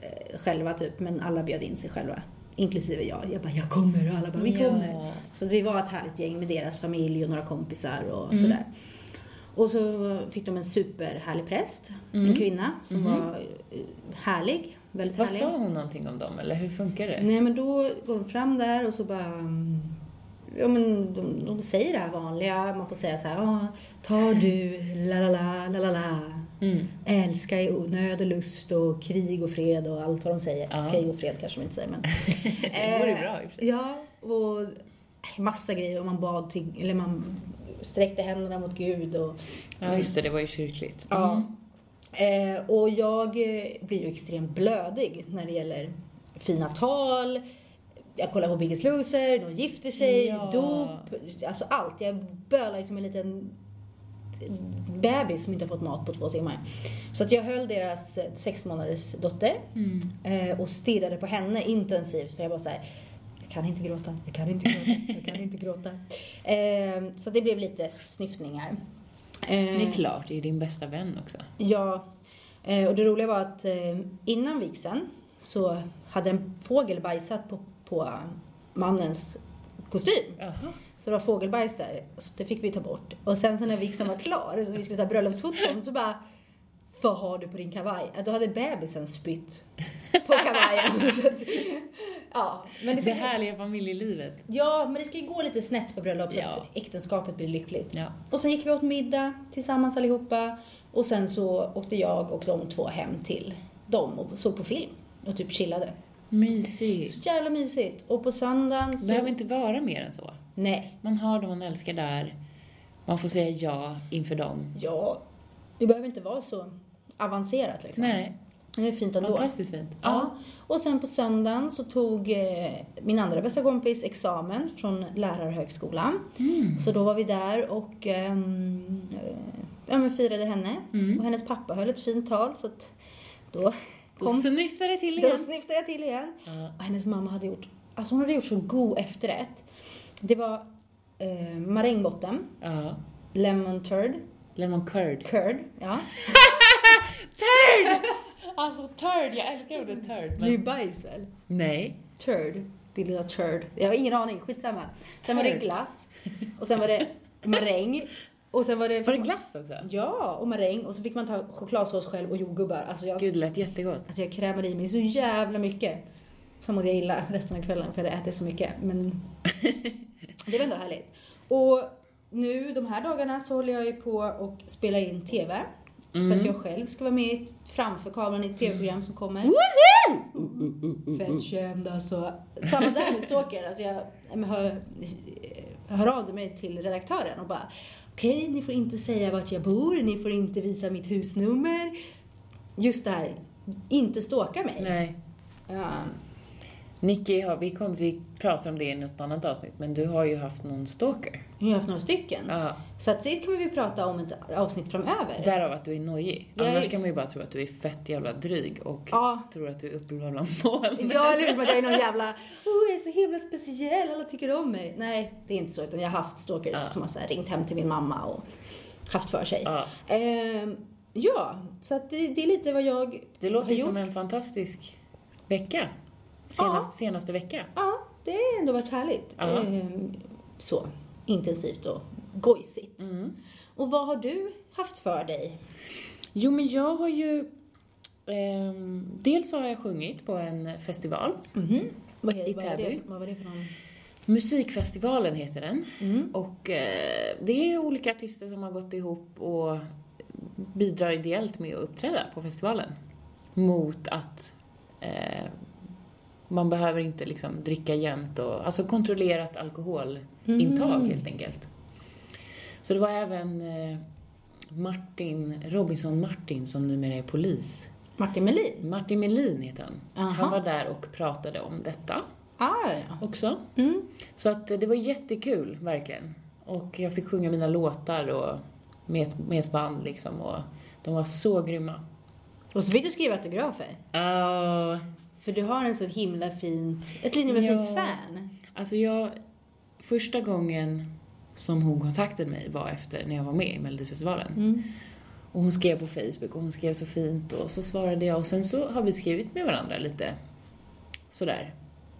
[SPEAKER 2] eh, själva typ, men alla bjöd in sig själva. Inklusive jag. Jag bara, jag kommer och alla bara, vi kommer.
[SPEAKER 1] Ja.
[SPEAKER 2] Så vi var ett härligt gäng med deras familj och några kompisar och
[SPEAKER 1] Mm.
[SPEAKER 2] sådär. Och så fick de en superhärlig präst,
[SPEAKER 1] Mm.
[SPEAKER 2] en kvinna som var eh, härlig, väldigt
[SPEAKER 1] Mm-hmm. Vad
[SPEAKER 2] härlig.
[SPEAKER 1] sa hon någonting om dem eller hur funkar det?
[SPEAKER 2] Nej men då går de fram där och så bara mm, Ja men de, de säger det här vanliga, man får säga så här, ah, tar du, la la la, la la la.
[SPEAKER 1] Mm.
[SPEAKER 2] Älska i nöd och lust och krig och fred och allt vad de säger.
[SPEAKER 1] Ja.
[SPEAKER 2] Krig och fred kanske de inte säger men. Eh,
[SPEAKER 1] Det vore bra i och för sig.
[SPEAKER 2] Ja, och eh, massa grejer. Och man bad till, eller man sträckte händerna mot Gud och...
[SPEAKER 1] Ja, just det, det var ju kyrkligt.
[SPEAKER 2] Ja.
[SPEAKER 1] Mm.
[SPEAKER 2] Eh, och jag eh, blir ju extremt blödig när det gäller fina tal. Jag kollar på Biggest Loser, de gifter sig,
[SPEAKER 1] Ja.
[SPEAKER 2] dop, alltså allt. Jag bölar ju som en liten bebis som inte har fått mat på två timmar. Så att jag höll deras eh, sex månaders dotter
[SPEAKER 1] Mm.
[SPEAKER 2] eh, och stirrade på henne intensivt för jag bara så här. Jag kan inte gråta, jag kan inte gråta, jag kan inte gråta. Eh, så det blev lite snyftningar. Eh,
[SPEAKER 1] Det är klart, det är din bästa vän också.
[SPEAKER 2] Ja, eh, och det roliga var att eh, innan vigseln så hade en fågel bajsat på, på eh, mannens kostym.
[SPEAKER 1] Jaha.
[SPEAKER 2] Så det var fågelbajs där, så det fick vi ta bort. Och sen så när vigseln var klar, så vi skulle ta bröllopsfoton, så bara vad har du på din kavaj? Ja, Då hade bebisen spytt på kavajen. Så att, ja, men det
[SPEAKER 1] Det
[SPEAKER 2] ska,
[SPEAKER 1] härliga familjelivet.
[SPEAKER 2] ja, men det ska ju gå lite snett på bröllop så
[SPEAKER 1] Ja.
[SPEAKER 2] att äktenskapet blir lyckligt.
[SPEAKER 1] Ja.
[SPEAKER 2] Och sen gick vi åt middag tillsammans allihopa och sen så åkte jag och de två hem till dem och såg på film och typ chillade.
[SPEAKER 1] Mysigt.
[SPEAKER 2] Så jävla mysigt. Och på söndagen så...
[SPEAKER 1] Behöver inte vara mer än så.
[SPEAKER 2] Nej.
[SPEAKER 1] Man har dem man älskar där. Man får säga ja inför dem.
[SPEAKER 2] Ja, det behöver inte vara så avancerat liksom.
[SPEAKER 1] Nej,
[SPEAKER 2] Det är fint ändå.
[SPEAKER 1] fantastiskt fint.
[SPEAKER 2] Ja. Och sen på söndagen så tog eh, min andra bästa kompis examen från lärarhögskolan.
[SPEAKER 1] Mm.
[SPEAKER 2] Så då var vi där och ehm, eh, ja, men firade henne.
[SPEAKER 1] Mm.
[SPEAKER 2] Och hennes pappa höll ett fint tal så att då
[SPEAKER 1] Då
[SPEAKER 2] kom...
[SPEAKER 1] snyftar det till
[SPEAKER 2] Då
[SPEAKER 1] igen.
[SPEAKER 2] snyftade jag till igen.
[SPEAKER 1] Ja.
[SPEAKER 2] Och hennes mamma hade gjort, alltså hon hade gjort så god efterrätt. Det var eh, marängbotten,
[SPEAKER 1] ja.
[SPEAKER 2] lemon turd,
[SPEAKER 1] Lemon curd.
[SPEAKER 2] curd, ja.
[SPEAKER 1] Turd! Alltså turd, jag älskar ordet turd.
[SPEAKER 2] Det är
[SPEAKER 1] Men...
[SPEAKER 2] ju bajs väl?
[SPEAKER 1] Nej.
[SPEAKER 2] Turd. Din lilla turd. Jag har ingen aning, skitsamma. Sen var det
[SPEAKER 1] Turd.
[SPEAKER 2] glass. Och sen var det maräng. Och sen var det...
[SPEAKER 1] Var det glass också?
[SPEAKER 2] Ja, och maräng. Och så fick man ta chokladsås själv och jordgubbar. Alltså jag,
[SPEAKER 1] Gud, det lät jättegott.
[SPEAKER 2] alltså jag krämade i mig så jävla mycket. Sen mådde jag illa resten av kvällen för jag hade ätit så mycket. Men det var ändå härligt. Och nu de här dagarna så håller jag ju på och spelar in TV. För
[SPEAKER 1] Mm.
[SPEAKER 2] att jag själv ska vara med i- framför kameran i ett TV-program som kommer. Fett känd alltså. Samma där med Stalker. Alltså jag, jag, hör, jag hör av mig till redaktören och bara okej, ni får inte säga vart jag bor, ni får inte visa mitt husnummer. Just det här, inte stalka mig.
[SPEAKER 1] Nej.
[SPEAKER 2] Ja.
[SPEAKER 1] Nicky, har, vi kommer vi pratar om det i något annat avsnitt, men du har ju haft någon stalker.
[SPEAKER 2] Jag har haft några stycken.
[SPEAKER 1] Ja.
[SPEAKER 2] Så att det kommer vi prata om i ett avsnitt framöver.
[SPEAKER 1] Därav att du är nojig.
[SPEAKER 2] Ja,
[SPEAKER 1] Annars
[SPEAKER 2] just.
[SPEAKER 1] kan man ju bara tro att du är fett jävla dryg och
[SPEAKER 2] Ja.
[SPEAKER 1] tror att du är uppe bland moln.
[SPEAKER 2] Ja, eller hur? Som att jag är någon jävla, oh, jag är så himla speciell, alla tycker om mig. Nej, det är inte så. Utan jag har haft stalkers som har så här ringt hem till min mamma och haft för sig.
[SPEAKER 1] Ja.
[SPEAKER 2] Ehm, ja, så att det, det är lite vad jag
[SPEAKER 1] Det
[SPEAKER 2] har
[SPEAKER 1] låter ju
[SPEAKER 2] gjort.
[SPEAKER 1] som en fantastisk vecka. Senast, Senaste vecka.
[SPEAKER 2] Ja, det har ändå varit härligt.
[SPEAKER 1] Ja.
[SPEAKER 2] Ehm, så intensivt och gojsigt.
[SPEAKER 1] Mm.
[SPEAKER 2] Och vad har du haft för dig?
[SPEAKER 1] Jo, men jag har ju... ehm, dels har jag sjungit på en festival.
[SPEAKER 2] Vad, är,
[SPEAKER 1] Mhm. I
[SPEAKER 2] vad, var det,
[SPEAKER 1] Täby.
[SPEAKER 2] för- vad var det för någon? Mm.
[SPEAKER 1] Musikfestivalen heter den. Och eh, det är olika artister som har gått ihop och bidrar ideellt med att uppträda på festivalen. Mot att eh, man behöver inte liksom dricka jämt och, alltså kontrollerat alkoholintag helt enkelt. Så det var även eh, Martin, Robinson Martin som numera är polis.
[SPEAKER 2] Martin Melin?
[SPEAKER 1] Martin Melin heter han.
[SPEAKER 2] Aha.
[SPEAKER 1] Han var där och pratade om detta
[SPEAKER 2] Ah, ja.
[SPEAKER 1] också.
[SPEAKER 2] Mm.
[SPEAKER 1] Så att eh, det var jättekul, verkligen. Och jag fick sjunga mina låtar och med ett, med ett band liksom och de var så grymma.
[SPEAKER 2] Och så fick du skriva autografer.
[SPEAKER 1] Uh,
[SPEAKER 2] För du har en så himla fint, ett himla fint
[SPEAKER 1] Ja.
[SPEAKER 2] fan.
[SPEAKER 1] alltså jag, första gången som hon kontaktade mig var efter när jag var med i Melodifestivalen. Och hon skrev på Facebook och hon skrev så fint och så svarade jag och sen så har vi skrivit med varandra lite sådär.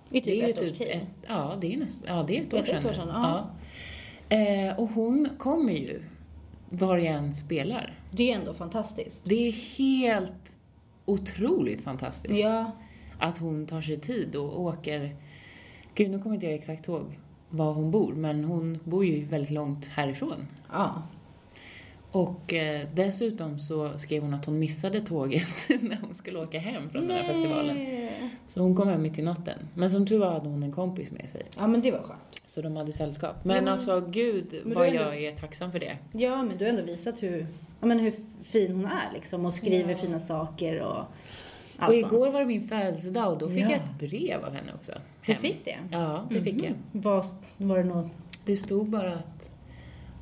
[SPEAKER 2] I typ
[SPEAKER 1] ju
[SPEAKER 2] ett års tid.
[SPEAKER 1] ett- ja, det är näst, ja, det är ett år
[SPEAKER 2] Ett
[SPEAKER 1] sedan.
[SPEAKER 2] år
[SPEAKER 1] nu.
[SPEAKER 2] sedan, ja.
[SPEAKER 1] Ja. Eh, och hon kommer ju var jag än spelar.
[SPEAKER 2] Det är ändå fantastiskt.
[SPEAKER 1] Det är helt otroligt fantastiskt
[SPEAKER 2] Ja.
[SPEAKER 1] att hon tar sig tid och åker... Gud, nu kommer inte jag exakt ihåg var hon bor, men hon bor ju väldigt långt härifrån.
[SPEAKER 2] ja.
[SPEAKER 1] Och eh, dessutom så skrev hon att hon missade tåget när hon skulle åka hem från den här festivalen. Så hon kom hem mitt i natten. Men som tur var hade hon en kompis med sig,
[SPEAKER 2] Ja men det var skönt.
[SPEAKER 1] så de hade sällskap. Men alltså, gud
[SPEAKER 2] Men
[SPEAKER 1] vad
[SPEAKER 2] du är ändå-
[SPEAKER 1] jag är tacksam för det.
[SPEAKER 2] Ja men du har ändå visat hur, ja, men hur fin hon är liksom och skriver fina saker och allt
[SPEAKER 1] Och
[SPEAKER 2] sånt.
[SPEAKER 1] igår var det min födelsedag och då fick
[SPEAKER 2] Ja.
[SPEAKER 1] jag ett brev av henne också.
[SPEAKER 2] Du
[SPEAKER 1] Hem.
[SPEAKER 2] fick det?
[SPEAKER 1] Ja, det fick jag.
[SPEAKER 2] Var, var det något?
[SPEAKER 1] Mm-hmm. Det stod bara att,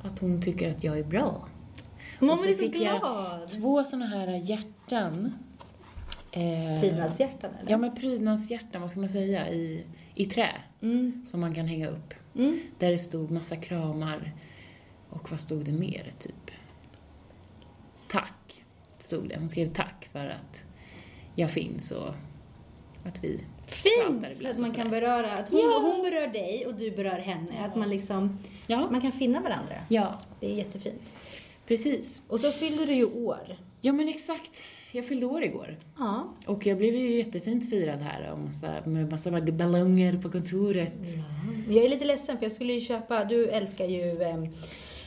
[SPEAKER 1] att hon tycker att jag är bra.
[SPEAKER 2] Någon
[SPEAKER 1] så
[SPEAKER 2] är så
[SPEAKER 1] fick jag-
[SPEAKER 2] liksom glad.
[SPEAKER 1] Två såna här hjärtan. Eh,
[SPEAKER 2] Pinashjärtan eller?
[SPEAKER 1] Ja, men prydnadshjärtan, vad ska man säga, i, i trä.
[SPEAKER 2] Mm.
[SPEAKER 1] Som man kan hänga upp.
[SPEAKER 2] Mm.
[SPEAKER 1] Där det stod massa kramar. Och vad stod det mer, typ? Tack, stod det. Hon skrev tack för att jag finns och att vi... Pratar
[SPEAKER 2] Fint!
[SPEAKER 1] ibland
[SPEAKER 2] Att
[SPEAKER 1] och
[SPEAKER 2] man
[SPEAKER 1] sådär.
[SPEAKER 2] kan beröra, att hon,
[SPEAKER 1] Ja.
[SPEAKER 2] hon berör dig och du berör henne. Att man liksom,
[SPEAKER 1] Ja,
[SPEAKER 2] man kan finna varandra.
[SPEAKER 1] ja
[SPEAKER 2] Det är jättefint.
[SPEAKER 1] precis.
[SPEAKER 2] Och så fyller du ju år.
[SPEAKER 1] Ja men exakt. Jag fyllde år igår.
[SPEAKER 2] Ja.
[SPEAKER 1] Och jag blev ju jättefint firad här och massa, med massa ballonger på kontoret.
[SPEAKER 2] Jag är lite ledsen för jag skulle ju köpa, du älskar ju, eh,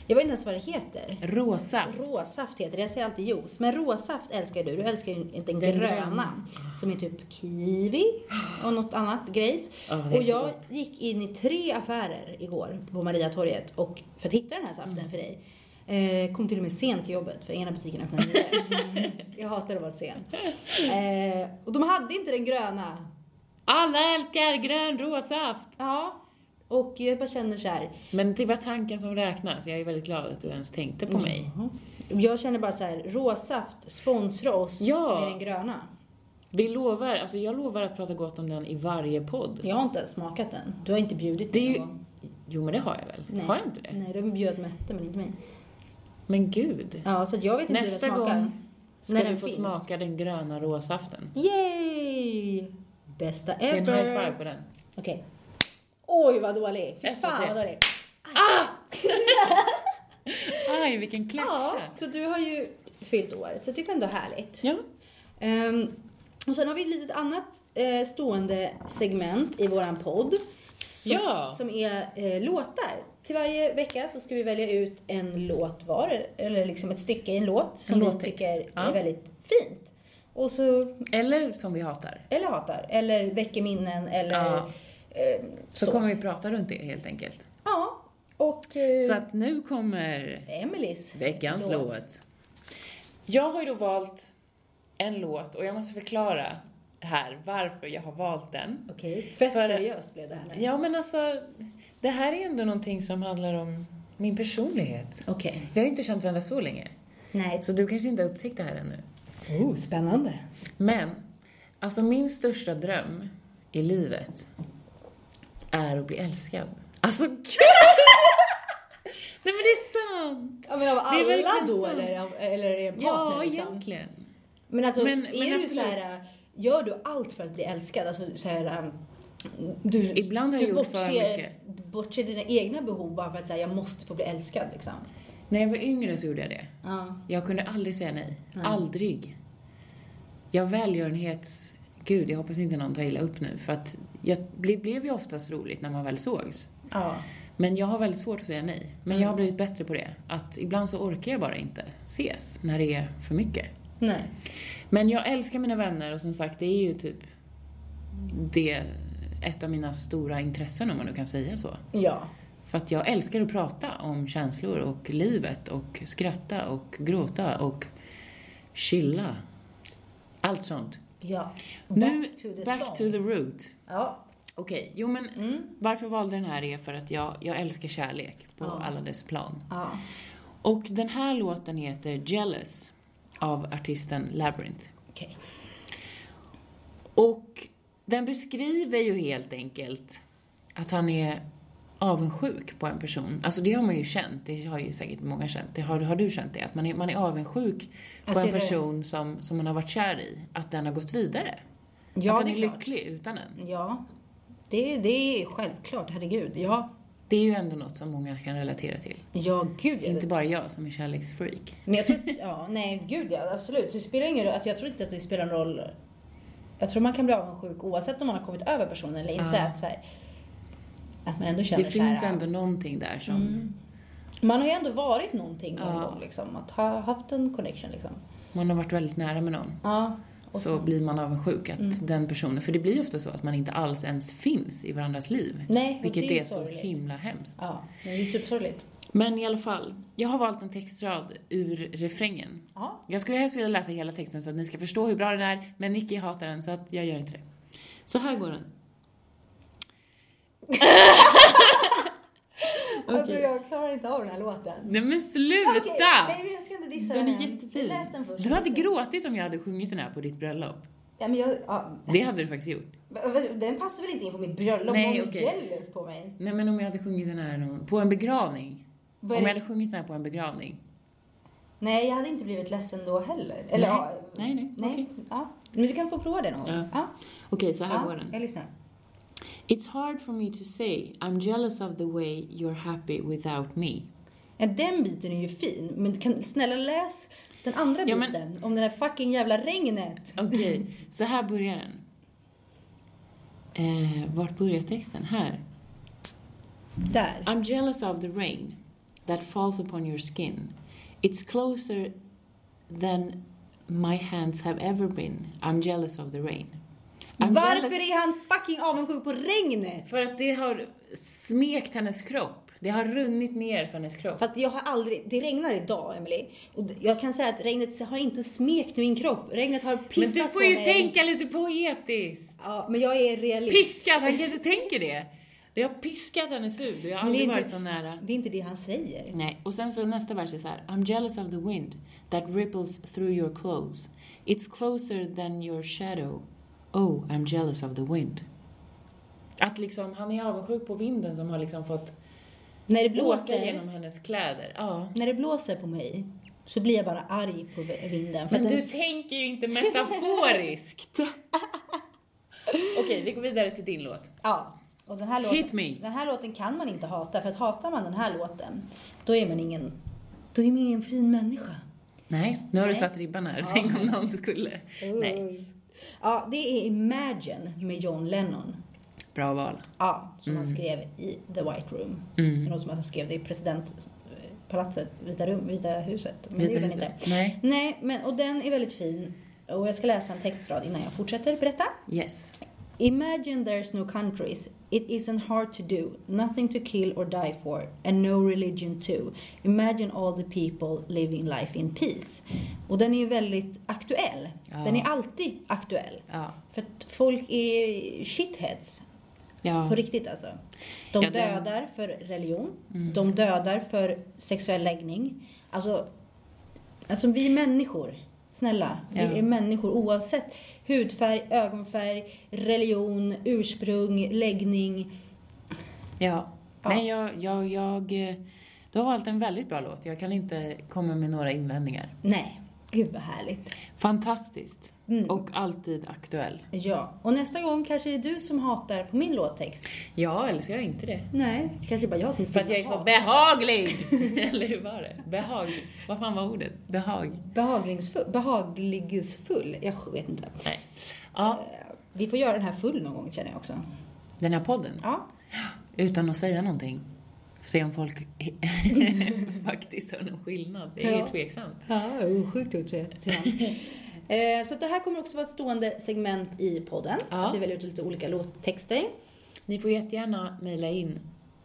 [SPEAKER 2] jag vet inte ens vad det heter.
[SPEAKER 1] Rosa.
[SPEAKER 2] Råsaft heter det, jag säger alltid juice. Men råsaft älskar ju du, du älskar ju inte
[SPEAKER 1] Den
[SPEAKER 2] den, gröna.
[SPEAKER 1] gröna.
[SPEAKER 2] Som är typ kiwi och något annat grejs.
[SPEAKER 1] Ja, det är
[SPEAKER 2] och
[SPEAKER 1] så
[SPEAKER 2] jag
[SPEAKER 1] gott.
[SPEAKER 2] gick in i tre affärer igår på Mariatorget och för att hitta den här saften
[SPEAKER 1] Mm.
[SPEAKER 2] för dig. Eh, kom till och med sent till jobbet för ena butiken öppnade nio. jag hatar att vara sen. Eh, och de hade inte den gröna.
[SPEAKER 1] Alla älskar grön råsaft!
[SPEAKER 2] Ja. Och jag bara känner så här.
[SPEAKER 1] Men det var tanken som räknas. Jag är väldigt glad att du ens tänkte
[SPEAKER 2] Mm.
[SPEAKER 1] på mig.
[SPEAKER 2] Mm-hmm. Jag känner bara så här, råsaft, sponsra oss
[SPEAKER 1] Ja.
[SPEAKER 2] med den gröna.
[SPEAKER 1] Vi lovar, alltså jag lovar att prata gott om den i varje podd.
[SPEAKER 2] Jag har inte ens smakat den. Du har inte bjudit
[SPEAKER 1] Det är
[SPEAKER 2] mig
[SPEAKER 1] ju...
[SPEAKER 2] någon gång.
[SPEAKER 1] Jo men det har jag väl? Har jag inte det?
[SPEAKER 2] Nej, de bjöd Mette men inte mig.
[SPEAKER 1] Men gud.
[SPEAKER 2] Ja, så att jag vet inte
[SPEAKER 1] Nästa
[SPEAKER 2] hur den smakar.
[SPEAKER 1] gång ska
[SPEAKER 2] När
[SPEAKER 1] du
[SPEAKER 2] den
[SPEAKER 1] få
[SPEAKER 2] finns.
[SPEAKER 1] smaka den gröna råsaften.
[SPEAKER 2] Yay! Bästa
[SPEAKER 1] Det är
[SPEAKER 2] ever!
[SPEAKER 1] en high five på den.
[SPEAKER 2] Okej. Oj, vad dålig! Fy
[SPEAKER 1] Ett, två,
[SPEAKER 2] fan
[SPEAKER 1] tre.
[SPEAKER 2] vad dålig!
[SPEAKER 1] Aj, vilken
[SPEAKER 2] Ja,
[SPEAKER 1] klatscha!
[SPEAKER 2] så du har ju fyllt året, så det är ändå härligt.
[SPEAKER 1] Ja.
[SPEAKER 2] Ehm, och sen har vi ett litet annat eh, stående segment i våran podd. Som,
[SPEAKER 1] Ja.
[SPEAKER 2] som är eh, låtar. Till varje vecka så ska vi välja ut en låt var, eller liksom ett stycke i en låt som
[SPEAKER 1] En
[SPEAKER 2] vi
[SPEAKER 1] låttext.
[SPEAKER 2] tycker
[SPEAKER 1] Ja.
[SPEAKER 2] är väldigt fint. Och så,
[SPEAKER 1] Eller som vi hatar.
[SPEAKER 2] eller hatar, eller väcker minnen, eller
[SPEAKER 1] Ja.
[SPEAKER 2] ehm,
[SPEAKER 1] Så, kommer vi prata runt det helt enkelt.
[SPEAKER 2] Ja, och eh,
[SPEAKER 1] Så att nu kommer
[SPEAKER 2] Emelies
[SPEAKER 1] veckans låt. Jag har ju då valt en låt och jag måste förklara här varför jag har valt den.
[SPEAKER 2] Okej, fett
[SPEAKER 1] För-
[SPEAKER 2] seriöst blev det här nu.
[SPEAKER 1] Ja men alltså, det här är ändå någonting som handlar om min personlighet.
[SPEAKER 2] Okej.
[SPEAKER 1] Vi har ju inte känt varandra så länge,
[SPEAKER 2] Nej.
[SPEAKER 1] så du kanske inte har upptäckt det här ännu.
[SPEAKER 2] Oh, spännande.
[SPEAKER 1] Men, alltså min största dröm i livet är att bli älskad. Alltså gud! Nej men det är sant!
[SPEAKER 2] Ja, men av
[SPEAKER 1] är
[SPEAKER 2] alla
[SPEAKER 1] verkligen
[SPEAKER 2] då
[SPEAKER 1] sant.
[SPEAKER 2] eller, av- eller är det en partner?
[SPEAKER 1] Ja,
[SPEAKER 2] liksom?
[SPEAKER 1] egentligen.
[SPEAKER 2] Men alltså,
[SPEAKER 1] Men-
[SPEAKER 2] är
[SPEAKER 1] men
[SPEAKER 2] du
[SPEAKER 1] absolut.
[SPEAKER 2] så här, gör du allt för att bli älskad? Alltså, så här, um, du,
[SPEAKER 1] Ibland har
[SPEAKER 2] du
[SPEAKER 1] jag gjort för
[SPEAKER 2] mycket. bortser dina egna behov bara för att säga jag måste få bli älskad liksom.
[SPEAKER 1] När jag var yngre så gjorde jag det.
[SPEAKER 2] Ja.
[SPEAKER 1] Jag kunde aldrig säga nej.
[SPEAKER 2] Nej.
[SPEAKER 1] Aldrig. Jag välgörenhets... Gud, jag hoppas inte någon tar illa upp nu. För att jag, det blev ju oftast roligt när man väl sågs.
[SPEAKER 2] ja.
[SPEAKER 1] Men jag har väldigt svårt att säga nej. Men jag har
[SPEAKER 2] Mm.
[SPEAKER 1] blivit bättre på det. Att ibland så orkar jag bara inte ses när det är för mycket.
[SPEAKER 2] Nej.
[SPEAKER 1] Men jag älskar mina vänner och som sagt, det är ju typ det, ett av mina stora intressen om man nu kan säga så.
[SPEAKER 2] Ja.
[SPEAKER 1] För att jag älskar att prata om känslor och livet och skratta och gråta och chilla. Allt sånt.
[SPEAKER 2] Ja. Back
[SPEAKER 1] nu,
[SPEAKER 2] to the
[SPEAKER 1] back
[SPEAKER 2] song.
[SPEAKER 1] to the root.
[SPEAKER 2] Ja.
[SPEAKER 1] Okej, jo men
[SPEAKER 2] Mm.
[SPEAKER 1] varför valde den här är för att jag, jag älskar kärlek på
[SPEAKER 2] Ja.
[SPEAKER 1] alla dess plan.
[SPEAKER 2] ja.
[SPEAKER 1] Och den här låten heter Jealous av artisten Labyrinth.
[SPEAKER 2] Okej.
[SPEAKER 1] Och den beskriver ju helt enkelt att han är avundsjuk på en person. Alltså det har man ju känt, det har ju säkert många känt. Det har, har du känt det? Att man är, man är avundsjuk
[SPEAKER 2] Alltså,
[SPEAKER 1] på en
[SPEAKER 2] det-
[SPEAKER 1] person som, som man har varit kär i, att den har gått vidare.
[SPEAKER 2] Ja,
[SPEAKER 1] att den
[SPEAKER 2] det
[SPEAKER 1] är,
[SPEAKER 2] är klart.
[SPEAKER 1] lycklig utan en.
[SPEAKER 2] Ja. Det, det är självklart, herregud. Ja.
[SPEAKER 1] Det är ju ändå något som många kan relatera till.
[SPEAKER 2] Ja, gud. jag-
[SPEAKER 1] Inte bara jag som är kärleksfreak.
[SPEAKER 2] Men jag tror, ja, nej gud ja, absolut. Det spelar ingen roll, alltså, jag tror inte att det spelar någon roll. Jag tror man kan bli avundsjuk oavsett om man har kommit över personen eller inte.
[SPEAKER 1] Ja.
[SPEAKER 2] Att, så här, att man ändå
[SPEAKER 1] Det
[SPEAKER 2] känner så
[SPEAKER 1] finns
[SPEAKER 2] här, mm.
[SPEAKER 1] ändå någonting där som...
[SPEAKER 2] Man har ju ändå varit någonting någon
[SPEAKER 1] Ja.
[SPEAKER 2] gång liksom. Att ha haft en connection liksom.
[SPEAKER 1] Man har varit väldigt nära med någon.
[SPEAKER 2] Ja. Och Mm.
[SPEAKER 1] Så blir man avundsjuk att den personen... För det blir ju ofta så att man inte alls ens finns i varandras liv.
[SPEAKER 2] Nej, och
[SPEAKER 1] Vilket
[SPEAKER 2] det är
[SPEAKER 1] är så
[SPEAKER 2] sorgligt.
[SPEAKER 1] himla hemskt.
[SPEAKER 2] Ja, det är ju supersorgligt.
[SPEAKER 1] Men i alla fall, jag har valt en textrad ur refrängen.
[SPEAKER 2] Ja.
[SPEAKER 1] Jag skulle helst vilja läsa hela texten så att ni ska förstå hur bra den är, men Nicky hatar den så att jag gör inte det. Så här går den. Okej.
[SPEAKER 2] Alltså, jag klarar inte av den här låten.
[SPEAKER 1] Nej men
[SPEAKER 2] Okej,
[SPEAKER 1] sluta!
[SPEAKER 2] nej men jag ska inte dissa
[SPEAKER 1] Den är
[SPEAKER 2] än.
[SPEAKER 1] jättefin.
[SPEAKER 2] Läs den först.
[SPEAKER 1] Du hade gråtit om jag hade sjungit den här på ditt bröllop.
[SPEAKER 2] Ja, men jag, ja.
[SPEAKER 1] Det hade du faktiskt gjort.
[SPEAKER 2] Den passar väl inte in på mitt bröllop?
[SPEAKER 1] Nej,
[SPEAKER 2] Nej, okay.
[SPEAKER 1] okej.
[SPEAKER 2] Jealous på mig.
[SPEAKER 1] Nej men om jag hade sjungit den här någon- på en begravning. Om
[SPEAKER 2] Vad är
[SPEAKER 1] jag
[SPEAKER 2] det-
[SPEAKER 1] hade sjungit den här på en begravning.
[SPEAKER 2] Nej, jag hade inte blivit ledsen då heller. Eller,
[SPEAKER 1] Nej.
[SPEAKER 2] ja,
[SPEAKER 1] Nej, nej, okej.
[SPEAKER 2] ja. Men du kan få prova det någon gång.
[SPEAKER 1] Ja.
[SPEAKER 2] Ja.
[SPEAKER 1] Okej, så här
[SPEAKER 2] ja,
[SPEAKER 1] går den.
[SPEAKER 2] Jag lyssnar.
[SPEAKER 1] It's hard for me to say. I'm jealous of the way you're happy without me.
[SPEAKER 2] Ja, den biten är ju fin, men kan, snälla läs den andra
[SPEAKER 1] Ja, men-
[SPEAKER 2] biten. Om det här fucking jävla regnet.
[SPEAKER 1] Okej, så här börjar den. Eh, vart börjar texten? Här.
[SPEAKER 2] Där.
[SPEAKER 1] I'm jealous of the rain that falls upon your skin. It's closer than my hands have ever been. I'm jealous of the rain. I'm
[SPEAKER 2] Varför
[SPEAKER 1] jealous-
[SPEAKER 2] är han fucking avundsjuk på regnet?
[SPEAKER 1] För att det har smekt hennes kropp. Det har runnit ner för hennes kropp.
[SPEAKER 2] Fast jag har aldrig, det regnar idag Emily. och d- jag kan säga att regnet har inte smekt min kropp. Regnet har
[SPEAKER 1] Men
[SPEAKER 2] pissat
[SPEAKER 1] du får
[SPEAKER 2] på
[SPEAKER 1] ju
[SPEAKER 2] mig.
[SPEAKER 1] tänka lite poetiskt.
[SPEAKER 2] Ja, men jag är realist.
[SPEAKER 1] Piskat, han kanske tänker det. Det har piskat hennes hud. Jag har
[SPEAKER 2] Men det
[SPEAKER 1] aldrig
[SPEAKER 2] är inte-
[SPEAKER 1] varit så nära.
[SPEAKER 2] Det är inte det han säger.
[SPEAKER 1] Nej, och sen så nästa vers är så här. I'm jealous of the wind that ripples through your clothes. It's closer than your shadow. Oh, I'm jealous of the wind. Att liksom, han är avundsjuk på vinden som har liksom fått
[SPEAKER 2] När det
[SPEAKER 1] blåsa
[SPEAKER 2] blåser,
[SPEAKER 1] genom hennes kläder. Ja.
[SPEAKER 2] när det blåser på mig så blir jag bara arg på v- vinden. För
[SPEAKER 1] Men
[SPEAKER 2] att
[SPEAKER 1] du
[SPEAKER 2] den,
[SPEAKER 1] tänker ju inte metaforiskt. Okej, vi går vidare till din låt.
[SPEAKER 2] ja, och den här låten,
[SPEAKER 1] Hit me.
[SPEAKER 2] Den här låten kan man inte hata, för att hatar man den här låten, då är man ingen, då är man ingen fin människa.
[SPEAKER 1] Nej, nu har
[SPEAKER 2] Nej.
[SPEAKER 1] du satt ribban här. Tänk om någon skulle... Nej.
[SPEAKER 2] Ja, det är Imagine med John Lennon.
[SPEAKER 1] Bra val.
[SPEAKER 2] Ja, som han
[SPEAKER 1] Mm.
[SPEAKER 2] skrev i The White Room. Det är något som han skrev det i presidentpalatset, Vita, rum, Vita huset. Men det
[SPEAKER 1] Vita
[SPEAKER 2] gjorde han
[SPEAKER 1] huset.
[SPEAKER 2] inte.
[SPEAKER 1] Nej.
[SPEAKER 2] Nej, men, och den är väldigt fin. Och jag ska läsa en textrad innan jag fortsätter berätta.
[SPEAKER 1] Yes.
[SPEAKER 2] Imagine there's no countries. It isn't hard to do, nothing to kill or die for, and no religion too. Imagine all the people living life in peace. Och den är ju väldigt aktuell.
[SPEAKER 1] Ja.
[SPEAKER 2] Den är alltid aktuell.
[SPEAKER 1] Ja.
[SPEAKER 2] För att folk är shitheads.
[SPEAKER 1] Ja.
[SPEAKER 2] På riktigt alltså. De
[SPEAKER 1] Ja, det- Mm.
[SPEAKER 2] dödar för religion. De dödar för sexuell läggning. Alltså, alltså vi är människor. Snälla.
[SPEAKER 1] Ja.
[SPEAKER 2] Vi är människor oavsett hudfärg, ögonfärg, religion, ursprung, läggning.
[SPEAKER 1] Ja.
[SPEAKER 2] Ja.
[SPEAKER 1] Nej, jag, jag, jag... eh, Du har valt en väldigt bra låt. Jag kan inte komma med några invändningar.
[SPEAKER 2] Nej, gud vad härligt.
[SPEAKER 1] Fantastiskt.
[SPEAKER 2] Mm.
[SPEAKER 1] Och alltid aktuell.
[SPEAKER 2] Ja, och nästa gång kanske det är du som hatar på min låttext.
[SPEAKER 1] Ja, eller så gör jag inte det.
[SPEAKER 2] Nej, det kanske är bara jag som
[SPEAKER 1] För att jag är så
[SPEAKER 2] hatar.
[SPEAKER 1] behaglig! eller hur var det? Behaglig. Vad fan var ordet? Behag.
[SPEAKER 2] behaglingsfull. Behagligsfull. Jag vet inte. Eh,
[SPEAKER 1] Nej. Ja,
[SPEAKER 2] Vi får göra den här full någon gång känner jag också.
[SPEAKER 1] den här podden.
[SPEAKER 2] Ja,
[SPEAKER 1] Utan att säga någonting. Se om folk faktiskt hör någon skillnad. Det är
[SPEAKER 2] Ja.
[SPEAKER 1] ju tveksamt.
[SPEAKER 2] Ja, osjukt gjort tror jag. Eh, Så att det här kommer också vara ett stående segment i podden.
[SPEAKER 1] Ja.
[SPEAKER 2] Att vi väljer ut lite olika låttexter.
[SPEAKER 1] Ni får jättegärna mejla in.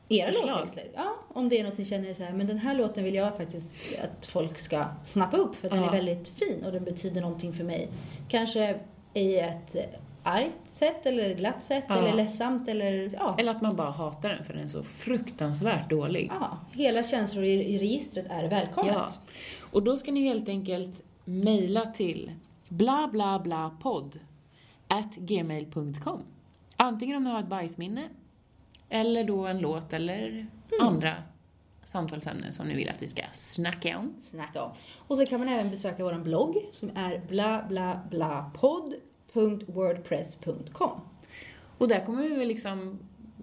[SPEAKER 2] Era
[SPEAKER 1] Förslag.
[SPEAKER 2] låttexter. Ja, om det är något ni känner så här, men den här låten vill jag faktiskt att folk ska snappa upp för att den
[SPEAKER 1] Ja.
[SPEAKER 2] är väldigt fin och den betyder någonting för mig. Kanske i ett eh, argt sätt eller glatt sätt
[SPEAKER 1] Ja.
[SPEAKER 2] eller ledsamt eller ja.
[SPEAKER 1] Eller att man bara hatar den för den är så fruktansvärt dålig.
[SPEAKER 2] ja. Hela känslor i, i registret är välkommet.
[SPEAKER 1] Ja. Och då ska ni helt enkelt mejla till bla bla bla podd at gmail.com. Antingen om ni har ett bajsminne, eller då en låt eller andra samtalsämnen som ni vill att vi ska snacka om.
[SPEAKER 2] snacka om. Och så kan man även besöka vår blogg som är bla bla bla podd.wordpress.com.
[SPEAKER 1] Och där kommer vi väl liksom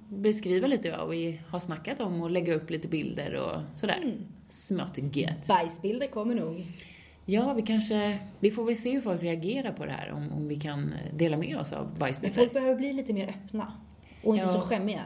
[SPEAKER 1] beskriva lite vad vi har snackat om och lägga upp lite bilder och sådär. Smått gött.
[SPEAKER 2] Bajsbilder kommer nog.
[SPEAKER 1] Ja, vi kanske... Vi får väl se hur folk reagerar på det här, om, om vi kan dela med oss av
[SPEAKER 2] Men
[SPEAKER 1] bajsbilder.
[SPEAKER 2] folk behöver bli lite mer öppna och inte
[SPEAKER 1] Ja.
[SPEAKER 2] så skämmiga.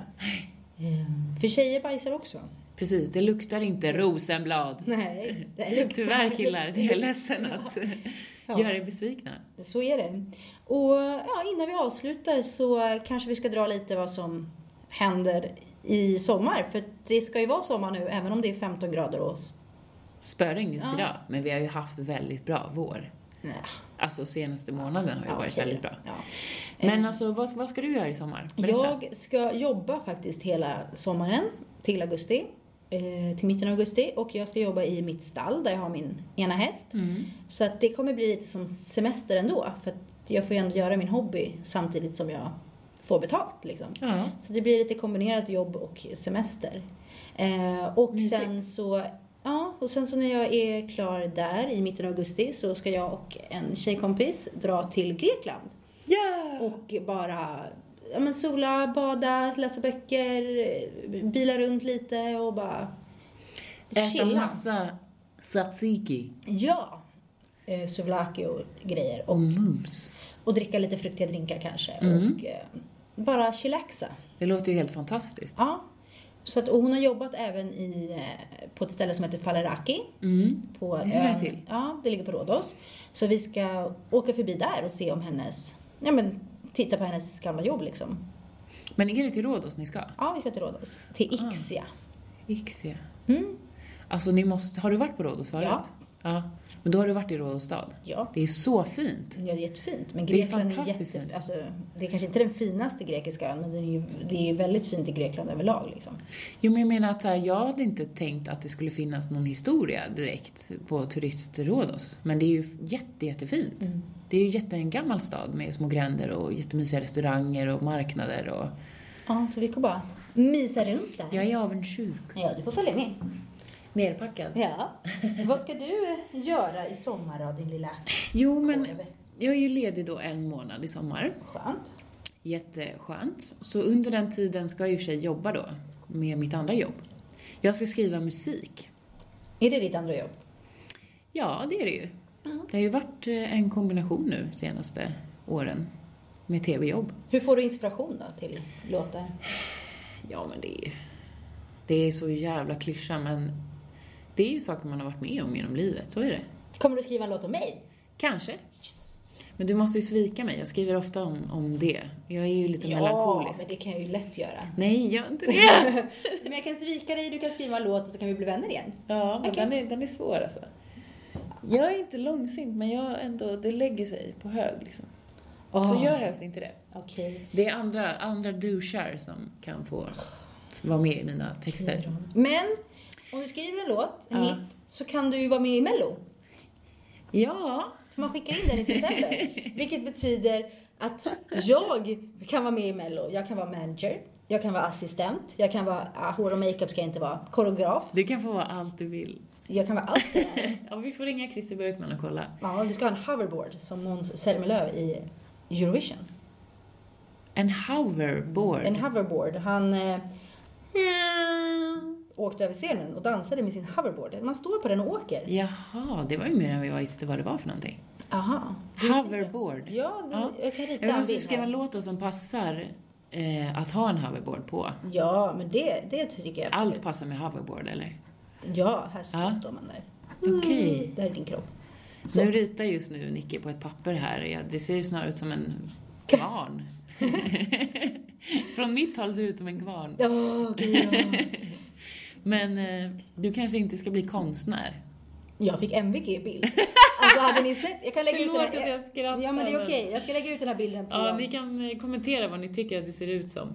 [SPEAKER 2] Ehm, För tjejer bajsar också.
[SPEAKER 1] Precis, det luktar inte rosenblad.
[SPEAKER 2] Nej, det luktar.
[SPEAKER 1] Tyvärr killar, det är jag ledsen att
[SPEAKER 2] Ja.
[SPEAKER 1] göra er besvikna.
[SPEAKER 2] Så är det. Och ja, innan vi avslutar så kanske vi ska dra lite vad som händer i sommar. För det ska ju vara sommar nu även om det är 15 grader och...
[SPEAKER 1] Spöregn just
[SPEAKER 2] Ja.
[SPEAKER 1] idag, men vi har ju haft väldigt bra vår.
[SPEAKER 2] Ja,
[SPEAKER 1] Alltså senaste månaden har ju varit
[SPEAKER 2] okej.
[SPEAKER 1] väldigt bra.
[SPEAKER 2] Ja.
[SPEAKER 1] Men alltså, vad, vad ska du göra i sommar? Berätta.
[SPEAKER 2] Jag ska jobba faktiskt hela sommaren till augusti. eh, Till mitten av augusti och jag ska jobba i mitt stall där jag har min ena häst.
[SPEAKER 1] Mm.
[SPEAKER 2] Så att det kommer bli lite som semester ändå för att jag får ju ändå göra min hobby samtidigt som jag får betalt liksom.
[SPEAKER 1] Ja.
[SPEAKER 2] Så det blir lite kombinerat jobb och semester. Eh, och
[SPEAKER 1] Mysigt.
[SPEAKER 2] sen så, ja, och sen så när jag är klar där i mitten av augusti så ska jag och en tjejkompis dra till Grekland. Och bara ja, men sola, bada, läsa böcker, eh, bila runt lite och bara
[SPEAKER 1] Äta
[SPEAKER 2] Chilla.
[SPEAKER 1] massa tzatziki
[SPEAKER 2] Ja. Eh, souvlaki och grejer. Och,
[SPEAKER 1] och mums.
[SPEAKER 2] och dricka lite fruktiga drinkar kanske.
[SPEAKER 1] Mm.
[SPEAKER 2] Och eh, bara chillaxa.
[SPEAKER 1] Det låter ju helt fantastiskt.
[SPEAKER 2] Ja. Så att, och hon har jobbat även i, eh, på ett ställe som heter Faleraki.
[SPEAKER 1] Mm.
[SPEAKER 2] På
[SPEAKER 1] Det känner jag
[SPEAKER 2] ön-
[SPEAKER 1] till.
[SPEAKER 2] Ja, det ligger på Rhodos. Så vi ska åka förbi där och se om hennes, ja men titta på hennes gamla jobb liksom.
[SPEAKER 1] Men är det till Rhodos ni ska?
[SPEAKER 2] Ja, vi ska till Rhodos. Till
[SPEAKER 1] Ah.
[SPEAKER 2] Ixia.
[SPEAKER 1] Ixia.
[SPEAKER 2] Mm.
[SPEAKER 1] Alltså ni måste, har du varit på Rhodos förut?
[SPEAKER 2] Ja.
[SPEAKER 1] ja. Men då har du varit i Rhodos stad.
[SPEAKER 2] Ja.
[SPEAKER 1] Det är så fint.
[SPEAKER 2] Ja, det är jättefint. Men
[SPEAKER 1] Det är
[SPEAKER 2] Grekland är,
[SPEAKER 1] fantastiskt
[SPEAKER 2] jättefint.
[SPEAKER 1] fint.
[SPEAKER 2] Alltså, det är kanske inte den finaste grekiska ön, men det är ju, det är ju väldigt fint i Grekland överlag. Liksom.
[SPEAKER 1] Jo, men jag menar att så här, jag hade inte tänkt att det skulle finnas någon historia direkt på turistrådos. Men det är ju jätte, jättefint.
[SPEAKER 2] Mm.
[SPEAKER 1] Det är ju jätte, en gammal stad med små gränder och jättemysiga restauranger och marknader och...
[SPEAKER 2] Ja, så vi kan bara mysa runt där.
[SPEAKER 1] Jag är avundsjuk.
[SPEAKER 2] Ja, du får följa med.
[SPEAKER 1] Nerpackad.
[SPEAKER 2] Ja. Vad ska du göra i sommar då, din lilla
[SPEAKER 1] Jo, men
[SPEAKER 2] korv?
[SPEAKER 1] jag är ju ledig då en månad i sommar.
[SPEAKER 2] Skönt.
[SPEAKER 1] Jätteskönt. Så under den tiden ska jag i och för sig jobba då, med mitt andra jobb. Jag ska skriva musik.
[SPEAKER 2] Är det ditt andra jobb?
[SPEAKER 1] Ja, det är det ju.
[SPEAKER 2] Mm.
[SPEAKER 1] Det har ju varit eh, en kombination nu senaste åren med tv-jobb.
[SPEAKER 2] Hur får du inspiration då till låtar?
[SPEAKER 1] Ja, men det är ju... Det är så jävla klyscha, men det är ju saker man har varit med om genom livet, så är det.
[SPEAKER 2] Kommer du skriva en låt om mig?
[SPEAKER 1] Kanske. Men du måste ju svika mig, jag skriver ofta om, om det. Jag är ju lite melankolisk.
[SPEAKER 2] men det kan jag ju lätt göra.
[SPEAKER 1] Nej, gör inte det!
[SPEAKER 2] Men jag kan svika dig, du kan skriva en låt och så kan vi bli vänner igen.
[SPEAKER 1] Ja, men
[SPEAKER 2] Okej.
[SPEAKER 1] den, är, den är svår alltså. Jag är inte långsint, men jag ändå, det lägger sig på hög liksom. Så
[SPEAKER 2] Ah,
[SPEAKER 1] gör helst inte det.
[SPEAKER 2] Okej.
[SPEAKER 1] Det är andra, andra duschar som kan få vara med i mina texter.
[SPEAKER 2] Men om du skriver en låt, en
[SPEAKER 1] Ja.
[SPEAKER 2] hit, så kan du ju vara med i Mello.
[SPEAKER 1] Ja,
[SPEAKER 2] För man skickar in den i september. Vilket betyder att jag kan vara med i Mello. Jag kan vara manager, jag kan vara assistent, jag kan vara, ah, hår och makeup ska jag inte vara, koreograf.
[SPEAKER 1] du kan få vara allt du vill.
[SPEAKER 2] Jag kan vara allt det där.
[SPEAKER 1] Ja, vi får ringa Christer Björkman och kolla.
[SPEAKER 2] Ja, du ska ha en hoverboard som Måns Zelmerlöw i Eurovision.
[SPEAKER 1] En hoverboard.
[SPEAKER 2] En hoverboard. Han eh, åkte över scenen och dansade med sin hoverboard. Man står på den och åker.
[SPEAKER 1] Jaha, det var ju mer än vad jag visste vad det var för någonting.
[SPEAKER 2] Aha.
[SPEAKER 1] Hoverboard.
[SPEAKER 2] Ja, det,
[SPEAKER 1] Ja.
[SPEAKER 2] jag kan rita
[SPEAKER 1] Jag
[SPEAKER 2] en
[SPEAKER 1] måste
[SPEAKER 2] bild
[SPEAKER 1] skriva en
[SPEAKER 2] här.
[SPEAKER 1] låt då som passar eh, att ha en hoverboard på.
[SPEAKER 2] Ja, men det, det tycker jag.
[SPEAKER 1] Allt passar med hoverboard, eller?
[SPEAKER 2] Ja, här så
[SPEAKER 1] Ja.
[SPEAKER 2] står man där. Mm.
[SPEAKER 1] Okej.
[SPEAKER 2] Där är din kropp. Så.
[SPEAKER 1] Nu ritar just nu Nicky på ett papper här. Ja, Det ser ju snarare ut som en kvarn. Från mitt håll ser det ut som en kvarn.
[SPEAKER 2] Ja, gud, ja.
[SPEAKER 1] Men eh, du kanske inte ska bli konstnär?
[SPEAKER 2] Jag fick MVG i bild. Alltså hade ni sett? Jag kan lägga ut
[SPEAKER 1] Förlåt
[SPEAKER 2] den
[SPEAKER 1] att
[SPEAKER 2] här.
[SPEAKER 1] jag skrattar.
[SPEAKER 2] Ja men det är okej, jag ska lägga ut den här bilden på...
[SPEAKER 1] Ja, ni kan eh, kommentera vad ni tycker att det ser ut som.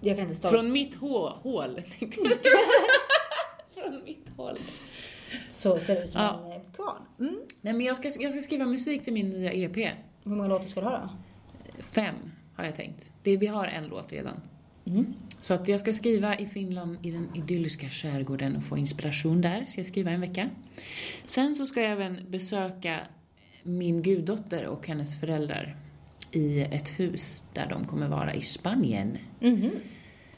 [SPEAKER 2] Jag kan inte stava.
[SPEAKER 1] Från mitt hå- hål. Från mitt hål.
[SPEAKER 2] Så ser det ut som
[SPEAKER 1] Ja.
[SPEAKER 2] en eh, kvarn. Mm.
[SPEAKER 1] Nej, men jag ska, jag ska skriva musik till min nya E EP.
[SPEAKER 2] Hur många låtar ska du ha då?
[SPEAKER 1] Fem, har jag tänkt. Det, vi har en låt redan.
[SPEAKER 2] Mm.
[SPEAKER 1] Så att jag ska skriva i Finland, i den idylliska skärgården och få inspiration där. Ska jag skriva en vecka. Sen så ska jag även besöka min guddotter och hennes föräldrar i ett hus där de kommer vara i Spanien.
[SPEAKER 2] Mhm.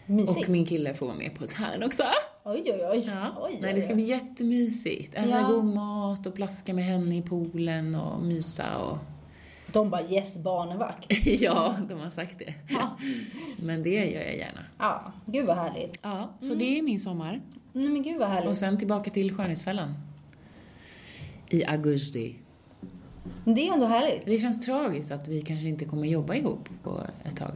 [SPEAKER 2] Mysigt.
[SPEAKER 1] Och min kille får vara med på ett hörn också.
[SPEAKER 2] Oj, oj, oj.
[SPEAKER 1] Ja.
[SPEAKER 2] oj,
[SPEAKER 1] Nej,
[SPEAKER 2] oj,
[SPEAKER 1] det ska
[SPEAKER 2] oj.
[SPEAKER 1] bli jättemysigt. Äta
[SPEAKER 2] Ja.
[SPEAKER 1] god mat och plaska med henne i poolen och mysa och...
[SPEAKER 2] De bara yes, barnvakt.
[SPEAKER 1] ja, de har sagt det.
[SPEAKER 2] Ja.
[SPEAKER 1] Men det gör jag gärna.
[SPEAKER 2] ja, gud vad härligt.
[SPEAKER 1] Ja, så det är min sommar.
[SPEAKER 2] Nej men gud vad härligt.
[SPEAKER 1] Och sen tillbaka till Skönhetsfällan. I augusti.
[SPEAKER 2] Det är ändå härligt.
[SPEAKER 1] Det känns tragiskt att vi kanske inte kommer jobba ihop på ett tag,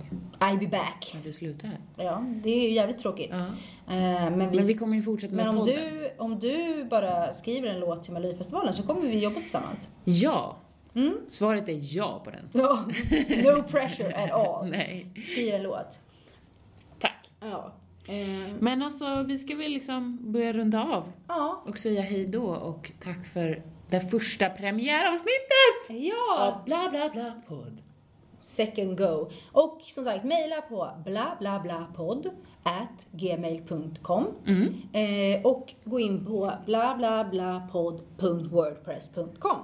[SPEAKER 2] I be back.
[SPEAKER 1] när du slutar här.
[SPEAKER 2] Ja, det är ju jävligt tråkigt.
[SPEAKER 1] Ja.
[SPEAKER 2] Eh, men vi,
[SPEAKER 1] Men
[SPEAKER 2] men,
[SPEAKER 1] vi kommer ju fortsätta med
[SPEAKER 2] om,
[SPEAKER 1] podden.
[SPEAKER 2] du, om du bara skriver en låt till Melodifestivalen så kommer vi jobba tillsammans.
[SPEAKER 1] Ja!
[SPEAKER 2] Mm.
[SPEAKER 1] Svaret är ja på den.
[SPEAKER 2] Ja, no pressure at all.
[SPEAKER 1] Nej.
[SPEAKER 2] Skriv en låt.
[SPEAKER 1] Tack.
[SPEAKER 2] Ja. Eh,
[SPEAKER 1] Men alltså, vi ska väl liksom börja runda av
[SPEAKER 2] ja.
[SPEAKER 1] och säga hej då och tack för det första premiäravsnittet!
[SPEAKER 2] Ja.
[SPEAKER 1] Av bla bla bla podd.
[SPEAKER 2] Second go. Och som sagt, mejla på bla bla bla podd at gmail.com
[SPEAKER 1] Mm.
[SPEAKER 2] eh, och gå in på bla bla bla podd.wordpress.com.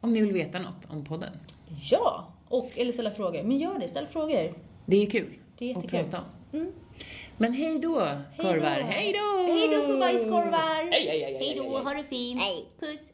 [SPEAKER 1] Om ni vill veta något om podden.
[SPEAKER 2] Ja! Och, eller ställa frågor. Men gör det, ställ frågor.
[SPEAKER 1] Det är kul
[SPEAKER 2] Det är
[SPEAKER 1] att
[SPEAKER 2] jättekul.
[SPEAKER 1] prata om.
[SPEAKER 2] Mm.
[SPEAKER 1] Men hej då, korvar. Hej då!
[SPEAKER 3] Hej då små bajskorvar!
[SPEAKER 1] Hej, hej, hej, hej,
[SPEAKER 3] Hej då,
[SPEAKER 1] hej.
[SPEAKER 3] ha det fint! Puss!